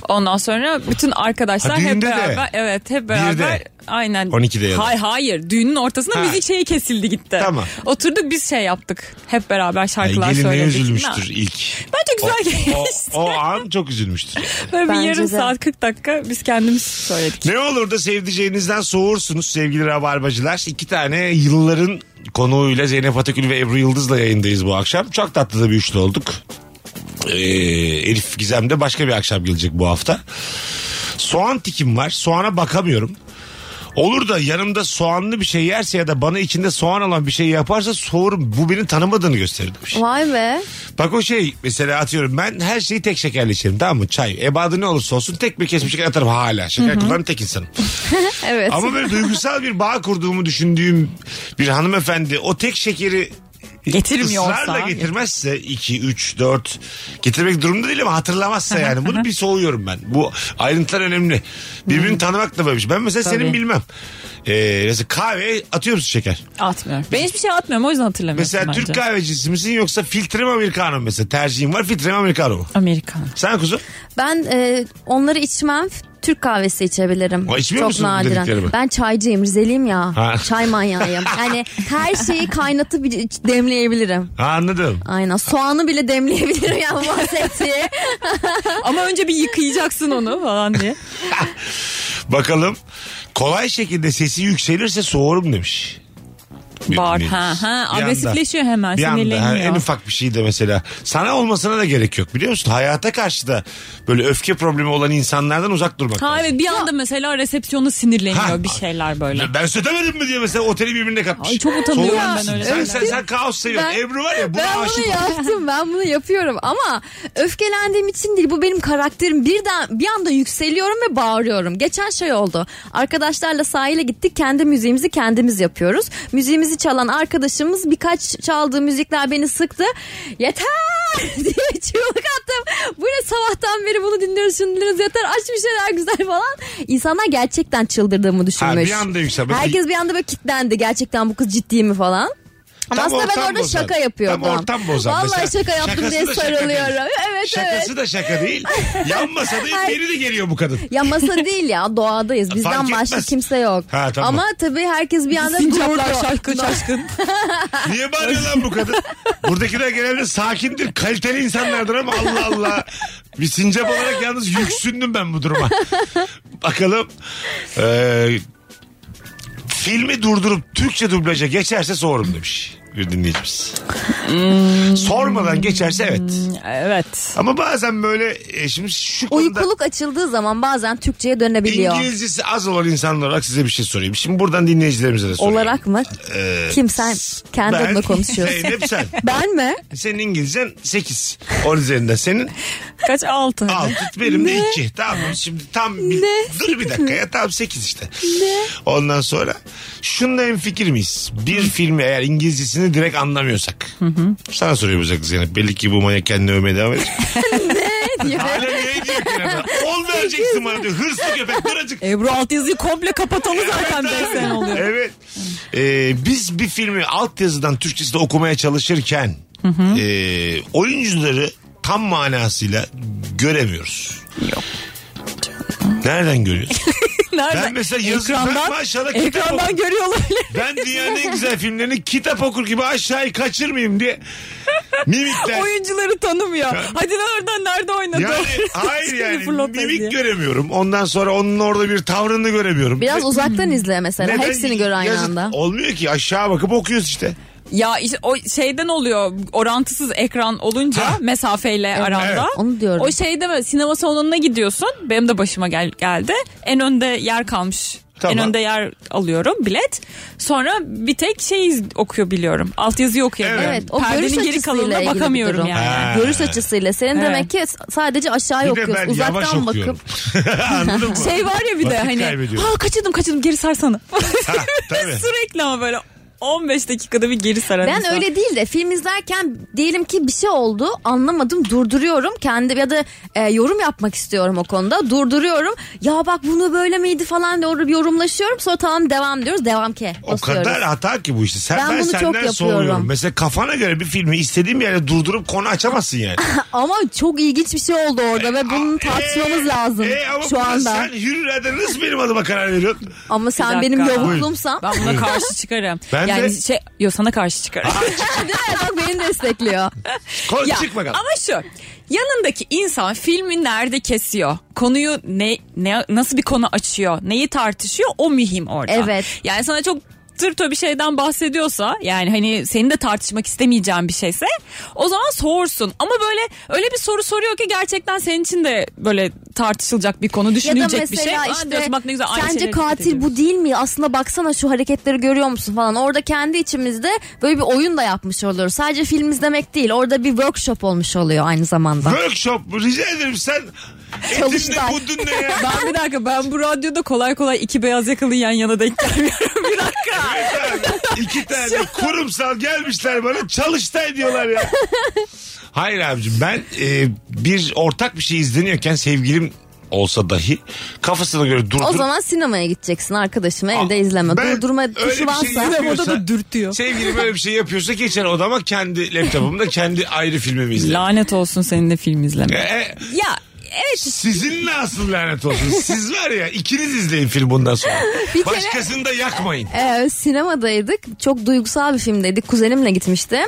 D: Ondan sonra bütün arkadaşlar
C: Ha,
D: hep
C: düğünde de.
D: beraber evet hep beraber
C: Birde.
D: aynen
C: 12'de ya da.
D: Hayır hayır düğünün ortasında
C: Ha.
D: müzik şeyi kesildi gitti.
C: Tamam.
D: Oturduk biz şey yaptık. Hep beraber
C: Ay,
D: şarkılar
C: gelin ne
D: söyledik.
C: üzülmüştür
D: Ha.
C: ilk.
D: Bence güzel
C: O,
D: geçti.
C: o an çok üzülmüştür.
D: Böyle bir
E: Bence
D: yarım
E: de.
D: saat 40 dakika biz kendimiz söyledik.
C: Ne olur da sevdiceğinizden soğursunuz sevgili rabarbacılar. İki tane yılların konuğuyla Zeynep Atakül ve Ebru Yıldız'la yayındayız bu akşam. Çok tatlı da bir üçlü olduk. Ee, Elif Gizem de başka bir akşam gelecek bu hafta. Soğan tikim var. Soğana bakamıyorum. Olur da yanımda soğanlı bir şey yerse ya da bana içinde soğan olan bir şey yaparsa soğurum. Bu beni tanımadığını gösterir demiş.
E: Vay be.
C: Bak o şey mesela atıyorum ben her şeyi tek şekerli içerim tamam mı? Çay. Ebadı ne olursa olsun tek bir kesmiş şeker atarım hala. Şeker kullanan tek insanım.
E: Evet.
C: Ama böyle duygusal bir bağ kurduğumu düşündüğüm bir hanımefendi o tek şekeri
D: Getirmiyorsa.
C: ısrarla getirmezse 2, 3, 4 getirmek durumunda değil ama hatırlamazsa yani. Bunu bir soğuyorum ben. Bu ayrıntılar önemli. Birbirini tanımak da böyle bir şey. Ben mesela senin
D: Tabii.
C: bilmem. Ee, mesela kahve atıyor musun şeker?
D: Atmıyorum. Ben hiçbir şey atmıyorum o yüzden hatırlamıyorum
C: Mesela
D: bence.
C: Türk kahvecisi misin yoksa filtre mi americano mu mesela? Tercihin var filtre mi americano mu?
D: Amerikan.
C: Sen kuzum?
E: Ben e, onları içmem. Türk kahvesi içebilirim.
C: Ama içmiyor
E: Çok
C: musun dediklerimi?
E: nadiren. Ben çaycıyım, Rizeliyim ya.
C: Ha.
E: Çay manyağıyım. yani her şeyi kaynatıp iç- demleyebilirim.
C: Ha, anladım.
E: Aynen. Soğanı bile demleyebilirim yani bahsettiği.
D: Ama önce bir yıkayacaksın onu falan diye.
C: Bakalım. Kolay şekilde sesi yükselirse soğurum demiş. Bir-
D: Bağır.
C: bir-
D: Ha, ha.
C: bir anda-
D: Agresifleşiyor hemen,
C: Bir anda, ha,
D: sinirleniyor.
C: en ufak bir şey de mesela. Sana olmasına da gerek yok biliyor musun? Hayata karşı da böyle öfke problemi olan insanlardan uzak durmak
D: Ha
C: lazım.
D: evet bir anda mesela resepsiyonu sinirleniyor
C: Ha.
D: bir şeyler böyle.
C: Ben sötemedim mi diye mesela oteli birbirine katmış.
D: Ay, çok utanıyorum ben
C: Soğurmuşsun.
D: öyle
C: Sen,
D: şeylerden.
C: sen, sen kaos seviyorsun.
E: Ben-
C: Ebru var ya buna
E: ben
C: aşık.
E: bunu yaptım. Ben bunu yapıyorum ama öfkelendiğim için değil. Bu benim karakterim. Birden bir anda yükseliyorum ve bağırıyorum. Geçen şey oldu. Arkadaşlarla sahile gittik. Kendi müziğimizi kendimiz yapıyoruz. Müziğimizi çalan arkadaşımız birkaç çaldığı müzikler beni sıktı. Yeter diye çığlık attım. Bu ne sabahtan beri bunu dinliyoruz şunu dinliyoruz yeter aç bir şeyler güzel falan. İnsanlar gerçekten çıldırdığımı düşünmüş.
C: Ha, bir anda yükselmiş.
E: Herkes bir anda böyle kitlendi. Gerçekten bu kız ciddi mi falan. Ama
C: Tam
E: aslında ben
C: ortam
E: orada
C: bozan.
E: şaka yapıyordum.
C: Tam ortam bozan
E: Vallahi
C: mesela.
E: şaka yaptım
C: Şakası
E: diye
C: da şaka değil.
E: sarılıyorum. Evet
C: Şakası
E: evet.
C: da şaka değil. Yan masadayım
E: Ay.
C: beri de geliyor bu kadın.
E: Ya masa değil ya doğadayız. Bizden
C: Fark
E: başka
C: etmez.
E: kimse yok.
C: Ha, tamam.
E: Ama tabii herkes bir anda
D: Sincaplar
E: durdu.
D: şaşkın şaşkın.
C: Niye bağırıyor lan bu kadın? Buradakiler genelde sakindir, kaliteli insanlardır ama Allah Allah. Bir sincap olarak yalnız yüksündüm ben bu duruma. Bakalım. e, Ee, filmi durdurup Türkçe dublaja geçerse sorum demiş. bir dinleyicimiz.
E: Hmm.
C: Sormadan geçerse evet.
D: Evet.
C: Ama bazen böyle e, şimdi şu konuda
E: Uykuluk açıldığı zaman bazen Türkçe'ye dönebiliyor.
C: İngilizcesi az olan insan olarak size bir şey sorayım. Şimdi buradan dinleyicilerimize de sorayım.
E: Olarak mı?
C: Ee,
E: Kim sen? Kendi
C: ben-
E: adına konuşuyorsun.
C: Zeynep sen.
E: ben mi?
C: Senin İngilizcen 8. 10 üzerinden senin
D: Kaç? Altı.
C: 6. Benim de 2. Tamam mı? şimdi tam bir,
E: Ne?
C: dur bir dakika ya tam 8 işte. Ondan sonra şununla en fikir miyiz? Bir filmi eğer İngilizcesini direkt anlamıyorsak. Sana soruyor bu Zeki Zeynep. Belli ki bu manyak kendini övmeye devam edecek.
E: diyor.
C: Hala niye gidiyor ki arada? 10 vereceksin bana diyor. Hırslı köpek dur acık.
D: Ebru Altyazı'yı komple kapatalı zaten 5
C: Evet abi.
D: sene oluyor.
C: Evet. Ee, biz bir filmi altyazıdan Türkçesine okumaya çalışırken e, oyuncuları tam manasıyla göremiyoruz. Yok. Nereden görüyoruz?
D: Nerede?
C: Ben mesela yazı- ben aşağıda kitap
D: ekrandan
C: okuyorum.
D: görüyor olabilir.
C: ben dünyanın en güzel filmlerini kitap okur gibi aşağıyı kaçırmayayım diye mimikler.
D: Oyuncuları tanımıyor. Hadi lan oradan nerede oynadı?
C: Yani hayır
D: Şimdi
C: yani
D: fırlat
C: mimik
D: diye.
C: göremiyorum. Ondan sonra onun orada bir tavrını göremiyorum.
E: Biraz
C: Ne-
E: uzaktan izle mesela.
C: neden
E: Hepsini gör aynı
C: yazı-
E: anda.
C: Olmuyor ki aşağı bakıp okuyoruz işte.
D: Ya işte o şeyden oluyor orantısız ekran olunca
C: Ha.
D: mesafeyle aranda.
C: Evet.
E: Onu diyorum.
D: O şeyde böyle sinema salonuna gidiyorsun. Benim de başıma gel geldi. En önde yer kalmış.
C: Tamam.
D: En önde yer alıyorum bilet. Sonra bir tek şey iz- okuyor biliyorum. Alt yazıyı okuyabiliyorum.
E: Evet, o görüş
D: Perdenin geri
E: açısıyla
D: kalanına
E: ilgili bir
D: bakamıyorum
E: durum.
D: yani.
C: Ha.
E: Görüş açısıyla. Senin
D: Evet.
E: demek ki sadece
C: Bir
E: aşağıya
C: de ben
E: okuyorsun.
C: yavaş
E: Uzaktan bakıp.
C: okuyorum. Anladın mı?
D: Şey var ya bir de
C: Vakit
D: hani
C: kaybediyorum.
D: ha kaçırdım kaçırdım geri sarsana.
C: Ha, tabii.
D: Sürekli ama böyle 15 dakikada bir geri saran
E: Ben
D: insan.
E: öyle değil de film izlerken diyelim ki bir şey oldu anlamadım durduruyorum kendi ya da e, yorum yapmak istiyorum o konuda durduruyorum ya bak bunu böyle miydi falan diye yorumlaşıyorum sonra tamam devam diyoruz devam ki
C: O kadar hata ki bu işte. Sen ben,
E: Ben bunu çok
C: senden
E: yapıyorum.
C: soğuyorum. Mesela kafana göre bir filmi istediğim yere durdurup konu açamazsın yani.
E: ama çok ilginç bir şey oldu orada
C: E,
E: ve bunu tartışmamız
C: Ee,
E: lazım
C: ee, ama
E: şu
C: buna
E: anda
C: Sen hürriyede nasıl benim adıma karar veriyorsun?
E: ama
D: Bir
E: sen
D: dakika.
E: benim yavuklumsan
D: Ben buna karşı çıkarım.
C: Ben
D: yani
C: de-
D: şey yo sana karşı çıkarım.
E: değil mi bak beni destekliyor
C: Koy,
D: Ya,
C: çık bakalım.
D: Ama şu yanındaki insan filmi nerede kesiyor? Konuyu ne, ne nasıl bir konu açıyor? Neyi tartışıyor? O mühim orada.
E: Evet.
D: Yani sana çok tırto bir şeyden bahsediyorsa yani hani senin de tartışmak istemeyeceğin bir şeyse o zaman soğursun. Ama böyle öyle bir soru soruyor ki gerçekten senin için de böyle tartışılacak bir konu,
E: ya da
D: düşünülecek bir şey.
E: mesela
D: Aa,
E: işte
D: diyorsun, bak ne güzel aynı
E: sence
D: şeyleri
E: katil
D: hissediyoruz.
E: bu değil mi aslında baksana şu hareketleri görüyor musun falan orada kendi içimizde böyle bir oyun da yapmış oluyoruz sadece film izlemek değil orada bir workshop olmuş oluyor aynı zamanda
C: Workshop mu? Rica ederim sen. Etin ne
E: Çalıştay.
C: budun ne ya?
D: Ben bir dakika ben bu radyoda kolay kolay iki beyaz yakalı yan yana denk gelmiyorum. bir dakika.
C: İki tane kurumsal gelmişler bana çalıştay diyorlar ya. Hayır abicim ben e, bir ortak bir şey izleniyorken sevgilim olsa dahi kafasına göre durdurup
E: o zaman sinemaya gideceksin arkadaşım evde izleme
C: Ben
E: durdurma
C: öyle
E: tuşu
C: bir
E: varsa
C: şey yapıyorsa-
D: dürtüyor.
C: Sevgilim böyle bir şey yapıyorsa geçer odama kendi laptopumda kendi ayrı filmimi izlerim.
D: Lanet olsun seninle film izleme.
C: E,
D: Ya evet
C: sizinle asıl lanet olsun. Siz var ya ikiniz izleyin film bundan sonra. Başkasını da yakmayın.
E: Ee, sinemadaydık. Çok duygusal bir filmdeydik. Kuzenimle gitmiştim.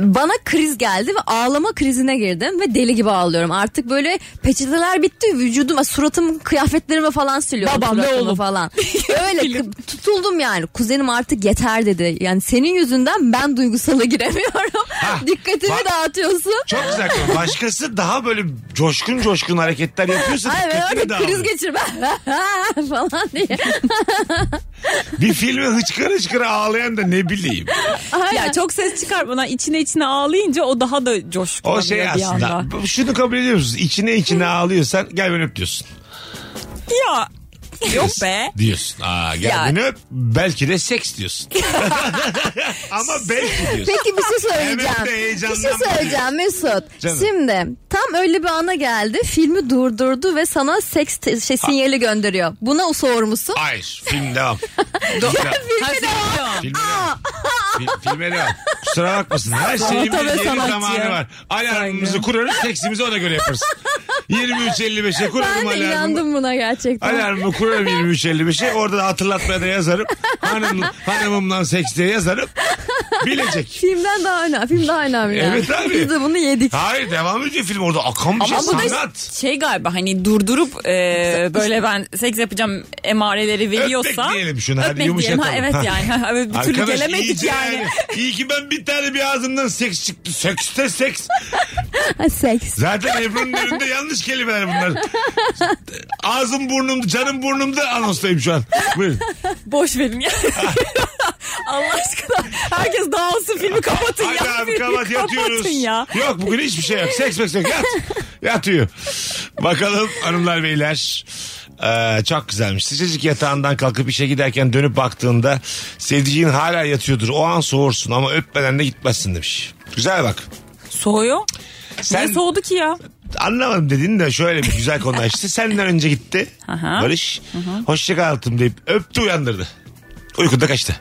E: Bana kriz geldi ve ağlama krizine girdim ve deli gibi ağlıyorum. Artık böyle peçeteler bitti vücuduma, suratım, kıyafetlerime falan siliyorum.
D: Babam ve
E: suratımı
D: oğlum.
E: falan. Öyle kı- tutuldum yani. Kuzenim artık yeter dedi. Yani senin yüzünden ben duygusala giremiyorum. Dikkatimi
C: bak.
E: dağıtıyorsun.
C: Çok güzel. konu. Başkası daha böyle coşkun coşkun hareketler yapıyorsa
E: Ay ben
C: dikkatini
E: artık kriz
C: dağılır.
E: geçirmem falan diye.
C: Bir filme hıçkıra hıçkıra ağlayan da ne bileyim.
D: ya çok ses çıkartmadan içine içine ağlayınca o daha da coşkulanıyor
C: O şey
D: bir
C: aslında.
D: anda.
C: bu- Şunu kabul ediyor musunuz? İçine içine ağlıyorsan gel beni öp diyorsun.
D: Ya yok be.
C: Diyorsun. Aa, gel
D: Ya.
C: beni öp. Belki de seks diyorsun. Ama belki diyorsun.
E: Peki bir şey söyleyeceğim.
C: Evet de heyecandan
E: bir şey söyleyeceğim Mesut.
C: Canım.
E: Şimdi tam öyle bir ana geldi. Filmi durdurdu ve sana seks te- şey, sinyali gönderiyor. Buna sormuşsun.
C: Hayır. Film devam. Film-
D: Ha, seviyorum.
C: Filme devam. Fil- filme devam. Kusura bakmasın. Her şeyin
D: Sanata ve
C: bir yeri
D: sanatçı.
C: zamanı var. Alarmımızı
D: Saygı.
C: kurarız. Seksimizi ona göre yaparız. 23.55'e kurarım
E: Ben de
C: alarmımı.
E: inandım buna gerçekten.
C: Alarmımı kurarım 23.55'e. Orada da hatırlatmaya da yazarım. Hanım, hanımımla seks diye yazarım. Bilecek.
E: Filmden daha önemli. Film daha önemli. yani.
C: Evet abi.
E: Biz de bunu yedik.
C: Hayır devam ediyor film orada akan bir şey
D: Ama bu da
C: sanat.
D: şey galiba hani durdurup e, böyle ben seks yapacağım emareleri veriyorsa.
C: Öpmek diyelim şuna, hadi
D: Öpmek
C: yumuşatalım.
D: diyelim. Ha, evet yani. Evet, bir türlü
C: Arkadaş,
D: gelemedik
C: iyice
D: yani.
C: İyi ki ben bir tane bir ağzımdan seks çıktı. Seks de seks.
E: Ha, Seks.
C: Zaten Ebru'nun önünde yanlış kelimeler bunlar. Ağzım burnumda, canım burnumda anonstayım şu an. Buyurun.
D: Boş verin ya. Allah aşkına herkes dağılsın filmi kapatın ya.
C: Hadi abi
D: Filmi
C: kapat yatıyoruz.
D: Kapatın ya.
C: Yok bugün hiçbir şey yok. Seks meks yok. Yat. Yatıyor. Bakalım hanımlar beyler. Ee, çok güzelmiş. Sıcacık yatağından kalkıp işe giderken dönüp baktığında sevdiceğin hala yatıyordur. O an soğursun ama öpmeden de gitmezsin demiş. Güzel bak.
D: Soğuyor.
C: Sen
D: Niye soğudu ki ya?
C: anlamadım dedin de şöyle bir güzel konu açtı. Senden önce gitti.
D: Aha.
C: Barış. Hoşça kal hayatım deyip öptü uyandırdı. Uykuda kaçtı.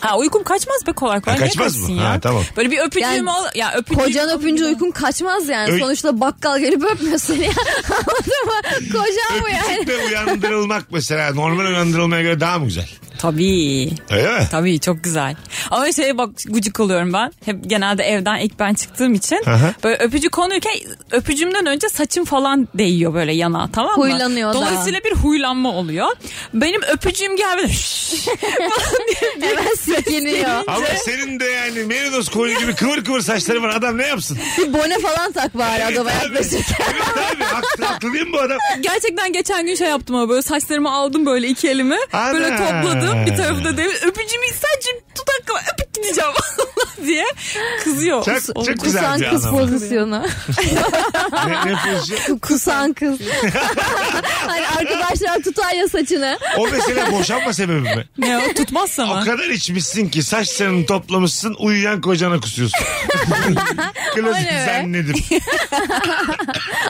D: Ha uykum kaçmaz be kolay kolay.
C: Ha,
D: Niye
C: kaçmaz mı?
D: kaçsın
C: Ha, tamam.
D: Böyle bir öpücüğüm
E: Yani
D: ol. Ya öpücüğüm
E: Kocan öpünce uykun kaçmaz yani.
C: Öyle-
E: Sonuçta bakkal gelip öpmüyor seni. Anladın mı? Kocan bu yani.
C: Öpücükle uyandırılmak mesela normal uyandırılmaya göre daha mı güzel?
D: Tabii.
C: Öyle mi?
D: Tabii çok güzel. Ama şeye bak gıcık oluyorum ben. Hep genelde evden ilk ben çıktığım için
C: Aha.
D: böyle öpücük konuyken öpücümden önce saçım falan değiyor böyle yana tamam mı?
E: Huylanıyor da.
D: Dolayısıyla bir huylanma oluyor. Benim öpücüğüm gelmedi. Şşş falan diye bir-
E: Hemen silkiniyor.
C: Ama senin de yani Merinos koyu gibi kıvır kıvır saçları var. Adam ne yapsın?
E: Bir bone falan tak bari adama
C: Tabii.
E: yaklaşırken.
C: Evet abi. Haklı, haklı değil mi bu adam?
D: Gerçekten geçen gün şey yaptım ama böyle saçlarımı aldım böyle iki elimi.
C: Ana.
D: Böyle topladım bir tarafı da devir. Öpücüğümü sadece dudakla öpüp gideceğim diye kızıyor. şey
C: Çok,
D: O-
C: çok güzel
E: Kusan
C: bir
E: kız
C: adam. var.
E: pozisyonu.
C: Ne, ne pozisyon?
E: Kusan kız. hani arkadaşlar tutar ya saçını.
C: O mesela boşanma sebebi mi?
D: Ne o tutmazsa
C: O
D: mı?
C: kadar içmişsin ki saçlarını toplamışsın uyuyan kocana kusuyorsun. Klasik
E: O ne be?
C: zannedip.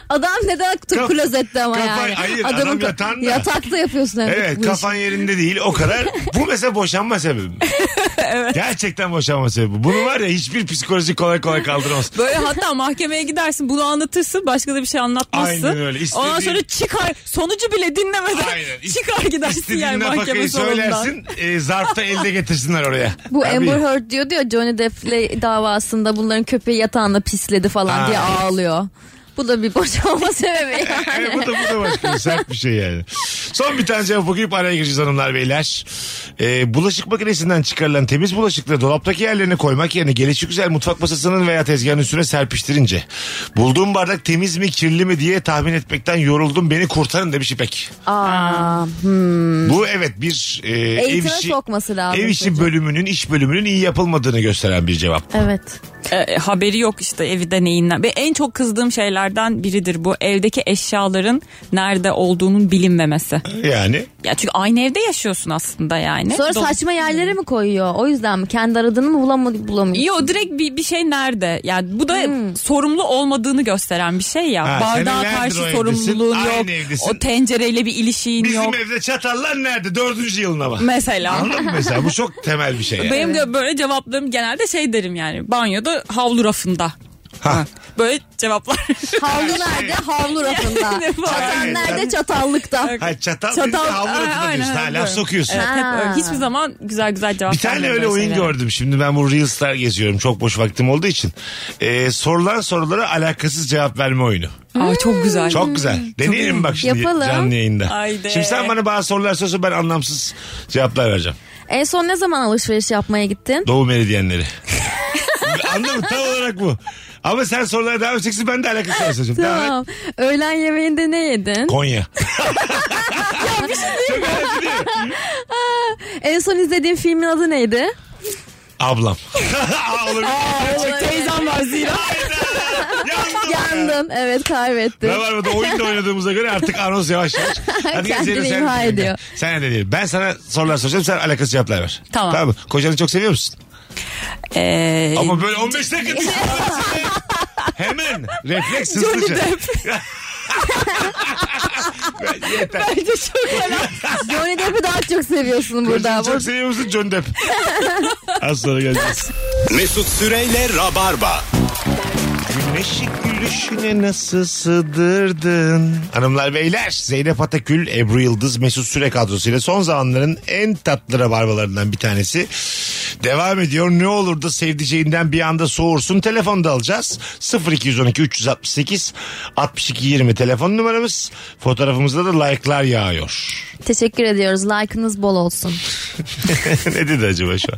E: Adam neden
C: Kaf-
E: klozette ama
C: kafa-
E: yani.
C: hayır, adam yatağında.
E: Yatakta yapıyorsun evet. bu
C: Evet
E: işi.
C: kafan yerinde değil o kadar. Bu mesela boşanma sebebi. Gerçekten boşanma sebebi. Bunu var ya hiçbir psikoloji kolay kolay kaldıramaz.
D: Böyle hatta mahkemeye gidersin bunu anlatırsın başka da bir şey anlatmazsın.
C: Aynen öyle. İstediğin-
D: Ondan sonra çıkar sonucu bile dinlemeden
C: Aynen. İst-
D: çıkar gidersin
C: İstediğin
D: yani mahkeme
C: nafakayı
D: salonundan.
C: söylersin e, zarfta elde getirsinler oraya.
E: Bu
C: Tabii.
E: Amber Heard diyor diyor Johnny Depp'le davasında bunların köpeği yatağında pisledi falan
C: Ha,
E: diye
C: evet.
E: ağlıyor. Bu da bir boşanma sebebi
C: Evet,
E: yani.
C: bu da bu da başka bir sert bir şey yani. Son bir tane cevap okuyup araya gireceğiz hanımlar beyler. Ee, bulaşık makinesinden çıkarılan temiz bulaşıkları dolaptaki yerlerine koymak yerine gelişi güzel mutfak masasının veya tezgahın üstüne serpiştirince bulduğum bardak temiz mi kirli mi diye tahmin etmekten yoruldum beni kurtarın demiş İpek.
E: Aa,
C: Bu evet bir e, ev
E: eğitime
C: işi,
E: sokması lazım.
C: ev işi
E: çocuğu.
C: bölümünün iş bölümünün iyi yapılmadığını gösteren bir cevap.
E: Evet.
D: E, haberi yok işte evi deneyinden. Ve en çok kızdığım şeylerden biridir bu. Evdeki eşyaların nerede olduğunun bilinmemesi.
C: Yani
D: Ya çünkü aynı evde yaşıyorsun aslında yani.
E: Sonra
D: Dol-
E: saçma yerlere mi koyuyor? O yüzden mi? Kendi aradığını mı bulamıyor? bulamıyor?
D: Yo direkt bir, bir şey nerede? Yani bu da sorumlu olmadığını gösteren bir şey ya.
C: Ha,
D: Bardağa
C: senelerdir
D: karşı
C: o evdesin,
D: sorumluluğun
C: aynı
D: yok.
C: evdesin.
D: O tencereyle bir ilişiğin
C: bizim
D: yok.
C: evde çatallar nerede dördüncü yılına bak.
D: Mesela.
C: Anladın mı mesela bu çok temel bir şey. yani.
D: Benim de böyle cevaplarım genelde şey derim yani banyoda havlu rafında.
C: Ha.
D: Böyle cevaplar.
E: Havlu nerede? Havlu rafında.
D: Ne var?
E: Çatal
C: Evet,
E: nerede?
C: evet.
E: Çatallıkta.
C: Ha, çatal, şey
D: Çatal-
C: çatal havlu
D: Aa,
C: atıyorsun.
D: aynen,
C: Ha,
D: aynen.
C: laf sokuyorsun.
D: Evet, hep
E: Ha.
D: öyle. Hiçbir zaman güzel güzel cevap
C: Bir tane
D: vermiyorum
C: öyle
D: böyle
C: oyun
D: şeylere.
C: gördüm. Şimdi ben bu Reels'ler geziyorum. Çok boş vaktim olduğu için. Ee, sorulan sorulara alakasız cevap verme oyunu.
D: Aa, Hmm, çok güzel.
C: Çok güzel. Deneyelim bak şimdi
E: Yapalım.
C: canlı yayında.
D: Haydi.
C: Şimdi sen bana bazı sorular sorsun ben anlamsız cevaplar vereceğim.
E: En son ne zaman alışveriş yapmaya gittin?
C: Doğu meridyenleri. Anladın mı? Tam olarak bu. Ama sen sorulara devam edeceksin ben de alakasız soru soracağım. Devam et.
E: Tamam. Öğlen yemeğinde ne yedin?
C: Konya. Çok önemli değil.
E: En son izlediğin filmin adı neydi?
C: Ablam. Aa, olabilir.
D: Teyzem var zira.
C: Hayda. Yandım.
E: Yandın. Evet kaybettin.
C: Ne var burada oyun da oynadığımıza göre artık anons yavaş yavaş. Hadi gel
E: Kendini
C: Zeynep, sen-
E: imha ediyor.
C: Sen ne diyelim. Ben sana sorular soracağım sen alakası cevaplar ver.
D: Tamam.
C: mı? Kocanı çok seviyor musun?
D: Ee,
C: Ama böyle 15 dakika düşün. Hemen refleks
D: Johnny
C: hızlıca.
D: Depp.
C: Yeter.
D: Bence çok helal.
E: Johnny Depp'i daha çok seviyorsun burada.
C: Kocanı çok seviyor musun Johnny Depp? Az sonra geleceğiz.
B: Mesut Süreyle Rabarba.
C: Güneşi gülüşüne nasıl sığdırdın? Hanımlar beyler Zeynep Atakül, Ebru Yıldız, Mesut Süre kadrosuyla son zamanların en tatlı rabarbalarından bir tanesi. Devam ediyor. Ne olur da sevdiceğinden bir anda soğursun. Telefonu da alacağız. 0212 368 62 20 telefon numaramız. Fotoğrafımızda da like'lar yağıyor.
E: Teşekkür ediyoruz. Like'ınız bol olsun.
C: ne dedi acaba şu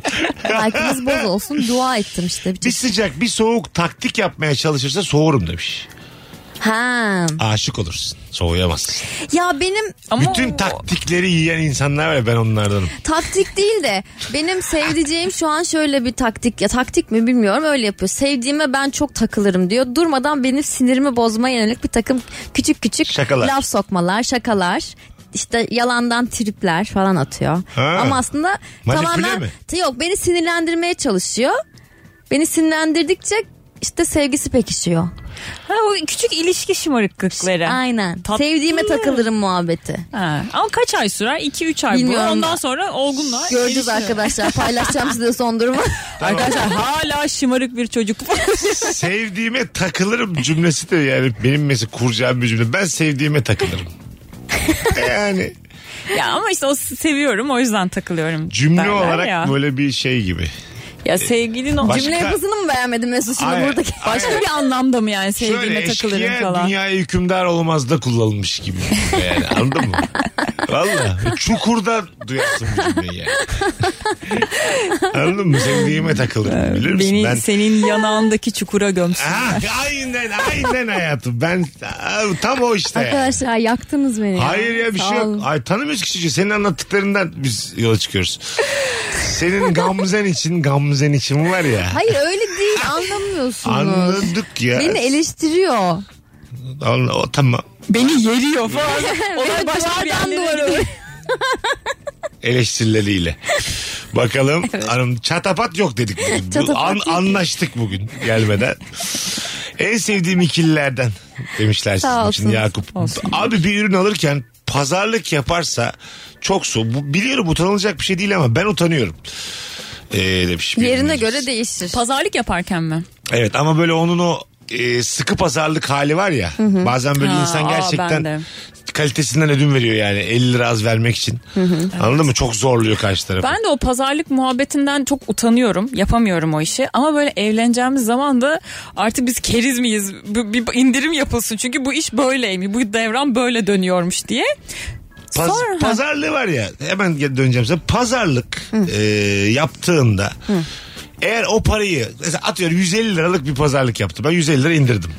C: an?
E: Like'ınız bol olsun. Dua ettim işte.
C: Bir sıcak bir soğuk taktik yapmaya çalışırsa soğurum demiş.
E: Ha.
C: Aşık olursun. Soğuyamazsın.
E: Ya benim
C: Bütün taktikleri yiyen insanlar var ya ben onlardanım.
E: taktik değil de benim sevdiceğim şu an şöyle bir taktik ya taktik mi bilmiyorum öyle yapıyor. Sevdiğime ben çok takılırım diyor. Durmadan benim sinirimi bozmaya yönelik bir takım küçük küçük
C: Şakalar.
E: laf sokmalar, şakalar. işte yalandan tripler falan atıyor.
C: Ha.
E: Ama aslında
C: Manipüle
E: tamamen
C: mi?
E: T- yok beni sinirlendirmeye çalışıyor. Beni sinirlendirdikçe işte sevgisi pekişiyor.
D: Ha, o küçük ilişki şımarıklıkları.
E: Aynen.
D: Tatlı.
E: Sevdiğime takılırım muhabbeti.
D: Ha. Ama kaç ay sürer? 2-3 ay
E: Bilmiyorum
D: bu. Ondan
E: ben.
D: sonra olgunluğa
E: Göreceğiz
D: erişiyor.
E: arkadaşlar. Paylaşacağım size son durumu.
D: Arkadaşlar hala şımarık bir çocuk.
C: sevdiğime takılırım cümlesi de yani benim mesela kuracağım bir cümle. Ben sevdiğime takılırım. yani
D: ya ama işte o seviyorum o yüzden takılıyorum.
C: cümle
D: derler
C: olarak
D: ya.
C: böyle bir şey gibi.
D: Ya sevgilin o
C: Başka-
E: Cümle yapısını mı beğenmedin Mesut şimdi
C: Aynen,
E: buradaki?
C: aynen.
D: Başka bir anlamda mı yani
C: Şöyle
D: sevdiğime takılırım
C: eşkıya
D: falan.
C: dünyaya hükümdar olmaz da kullanılmış gibi. Yani anladın mı? Valla çukurda duyarsın bu cümleyi yani. anladın mı? Sevdiğime takılırım bilir misin?
D: Beni
C: ben...
D: senin yanağındaki çukura gömsün.
C: Ha, aynen aynen hayatım. Ben tam o işte. yani.
E: Arkadaşlar yaktınız beni.
C: Ee. Hayır ya bir
E: Sağ
C: şey yok.
E: olun.
C: Ay tanımıyoruz ki çocuğu. Senin anlattıklarından biz yola çıkıyoruz. Senin gamzen için gamzen için var ya.
E: Hayır öyle değil anlamıyorsunuz.
C: Anladık ya.
E: Beni eleştiriyor.
C: Anla- o tamam.
D: Beni yeriyor falan. Olay
E: Beni
D: başka bir
E: duvardan
D: yerlere
E: duvara
D: gidiyor.
C: Eleştirileriyle. Bakalım hanım çatapat yok dedik bugün. Bu-
E: Çatapat
C: an-
E: yok.
C: anlaştık bugün gelmeden. en sevdiğim ikililerden demişler sizin
E: Sağ
C: için
E: olsun.
C: Yakup. Abi bir ürün alırken pazarlık yaparsa çok su. Bu, biliyorum utanılacak bir şey değil ama ben utanıyorum. Ee, demiş bir
E: Yerine
C: dinleyicimiz.
E: göre değişir.
D: Pazarlık yaparken mi?
C: Evet ama böyle onun o e, sıkı pazarlık hali var ya. Bazen böyle
D: Ha,
C: insan
D: aa, ben
C: gerçekten
D: de.
C: kalitesinden ödün veriyor yani 50 lira az vermek için. Anladın mı? Çok zorluyor karşı tarafı.
D: Ben de o pazarlık muhabbetinden çok utanıyorum. Yapamıyorum o işi. Ama böyle evleneceğimiz zaman da artık biz keriz miyiz? Bu- Bir indirim yapılsın. Çünkü bu iş böyleymiş. Bu devran böyle dönüyormuş diye.
C: Paz-
D: Sonra-
C: Pazarlığı var ya hemen geri döneceğim size. Pazarlık e, yaptığında eğer o parayı mesela atıyorum 150 liralık bir pazarlık yaptı. Ben 150 lira indirdim.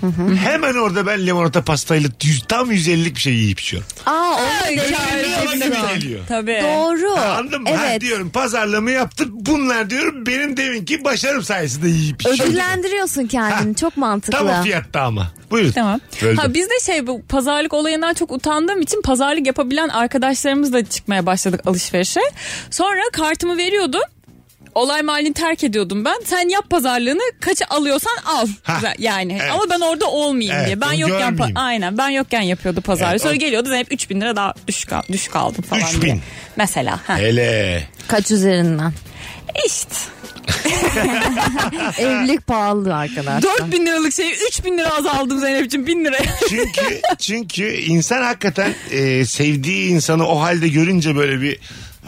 C: Hemen orada ben limonata pastayla yüz- tam 150'lik bir şey yiyip içiyorum.
E: Aa onu da
C: Bana gibi geliyor.
D: Tabii.
E: Doğru.
C: Anladın mı? Ha,
E: Evet.
C: diyorum pazarlığımı yaptım. Bunlar diyorum benim deminki başarım sayesinde yiyip içiyorum.
E: Ödüllendiriyorsun kendini. Çok mantıklı.
C: Tam o fiyatta ama. Buyurun.
D: Tamam.
C: Böldüm.
D: Ha biz de şey bu pazarlık olayından çok utandığım için pazarlık yapabilen arkadaşlarımızla çıkmaya başladık alışverişe. Sonra kartımı veriyordum. Olay mahallini terk ediyordum ben. Sen yap pazarlığını kaça alıyorsan al.
C: Ha,
D: Yani
C: evet.
D: ama ben orada olmayayım
C: Evet,
D: diye. Ben
C: onu
D: yokken
C: görmeyeyim.
D: pa- aynen ben yokken yapıyordu pazarlığı.
C: Evet,
D: Sonra
C: o-
D: geliyordu Zeynep 3000 lira daha düşük, al- düşük aldım falan
C: 3000.
D: diye. Mesela. Ha.
C: Hele.
E: Kaç üzerinden?
D: İşte
E: Evlilik pahalı arkadaşlar.
D: 4000 liralık şeyi 3000 lira azaldım Zeynep'ciğim 1000 liraya.
C: Çünkü çünkü insan hakikaten e, sevdiği insanı o halde görünce böyle bir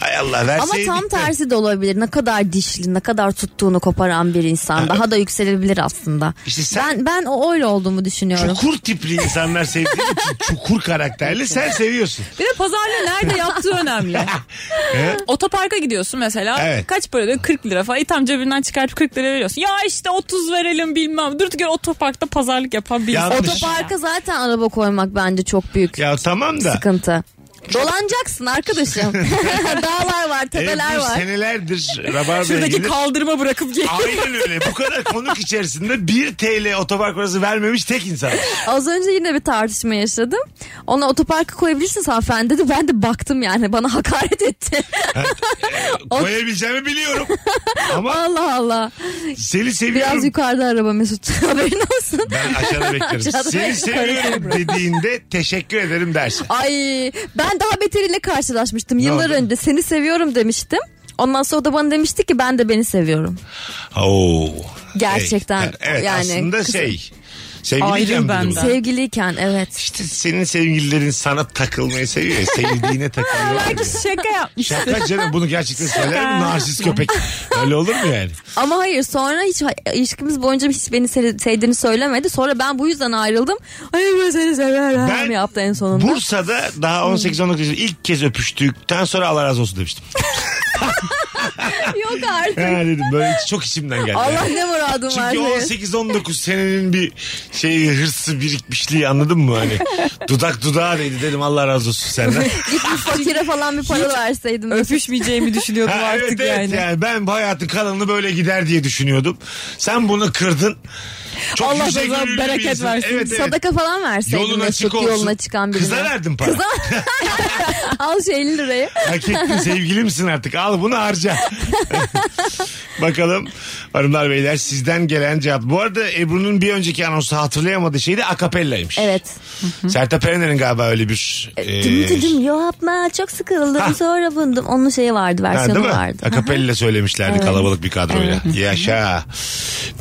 C: ay Allah
E: Ama
C: verseydik
E: tam
C: de-
E: tersi de olabilir. Ne kadar dişli, ne kadar tuttuğunu koparan bir insan daha da yükselebilir aslında.
C: İşte sen-
E: Ben ben o öyle olduğumu düşünüyorum.
C: Çukur tipli insanlar sevdiği için çukur karakterli sen seviyorsun.
D: Bir de pazarlığı nerede yaptığı önemli. Otoparka gidiyorsun mesela.
C: Evet.
D: Kaç para diyor? 40 lira falan. E, Tam cebinden çıkartıp 40 lira veriyorsun. Ya işte 30 verelim bilmem. Durduk yere otoparkta pazarlık yapan bir insan.
C: Yanlış.
E: Otoparka zaten araba koymak bence çok büyük
C: Ya tamam da.
E: sıkıntı. Dolanacaksın arkadaşım. Dağlar var,
C: Evet,
E: tepeler
C: bu
E: var.
C: e, senelerdir Rabarba'ya
D: Şuradaki
C: gelir.
D: kaldırıma bırakıp gel.
C: Aynen öyle. Bu kadar konuk içerisinde 1 TL otopark parası vermemiş tek insan.
E: Az önce yine bir tartışma yaşadım. Ona otoparka koyabilirsiniz hanımefendi dedi. Ben de baktım yani bana hakaret etti.
C: Koyabileceğimi biliyorum. Ama
E: Allah Allah.
C: seni seviyorum.
E: Biraz yukarıda araba Mesut. Haberin olsun.
C: Ben aşağıda beklerim.
E: Aşağıda
C: Seni
E: yukarı
C: seviyorum dediğinde teşekkür ederim dersin.
E: Ay ben daha beteriyle karşılaşmıştım yıllar
C: oldu?
E: önce. Seni seviyorum demiştim. Ondan sonra o da bana demişti ki ben de beni seviyorum.
C: Oo.
E: Gerçekten.
C: Evet, Şey, evet
E: yani
C: aslında
E: kız-
C: şey. Sevgiliyken
D: Ayrı
C: bir durum.
D: benden.
E: Sevgiliyken evet.
C: İşte senin sevgililerin sana takılmayı seviyor ya. Sevdiğine takılıyor.
D: Şaka yapmış.
C: Şaka canım bunu gerçekten söyler mi? Narsist köpek. Öyle olur mu yani?
E: Ama hayır sonra hiç ilişkimiz boyunca hiç beni se- sevdiğini söylemedi. Sonra ben bu yüzden ayrıldım. Hayır ben seni severim
C: Ben
E: yaptı en sonunda. Hmm.
C: Bursa'da daha 18-19 yaşında ilk kez öpüştükten sonra Allah razı olsun demiştim.
E: Yok artık.
C: Ha dedim böyle çok içimden geldi.
E: Allah ne muradın var
C: Çünkü 18-19 senenin bir şey hırsı birikmişliği anladın mı hani? Dudak dudağa değdi dedim Allah razı olsun senden.
E: Git bir fakire falan bir para verseydin.
D: Öpüşmeyeceğimi düşünüyordum
C: Ha,
D: artık
C: evet, evet
D: yani.
C: yani. Ben bu hayatın kalanını böyle gider diye düşünüyordum. Sen bunu kırdın. Çok
D: Allah
C: yüce
D: sana
C: gönüllü bir
D: bereket
C: insan.
D: versin.
C: Evet, evet.
E: Sadaka falan verseydin.
C: Yolun
E: Mesut,
C: açık olsun.
E: Yoluna çıkan birine.
C: Kıza verdim para.
E: Kıza- Al şu 50 lirayı.
C: Hak ettin sevgilimsin artık. Al bunu harca. Bakalım hanımlar beyler sizden gelen cevap. Bu arada Ebru'nun bir önceki anonsu hatırlayamadığı şey de akapellaymış.
E: Evet.
C: Sertab Erener'in galiba öyle bir... e,
E: Dım dım dım yapma çok sıkıldım
C: Ha.
E: sonra bundum. Onun şeyi vardı
C: Ha, değil
E: versiyonu
C: mi?
E: vardı.
C: Akapella söylemişlerdi
E: Evet.
C: kalabalık bir kadroyla. Yaşa.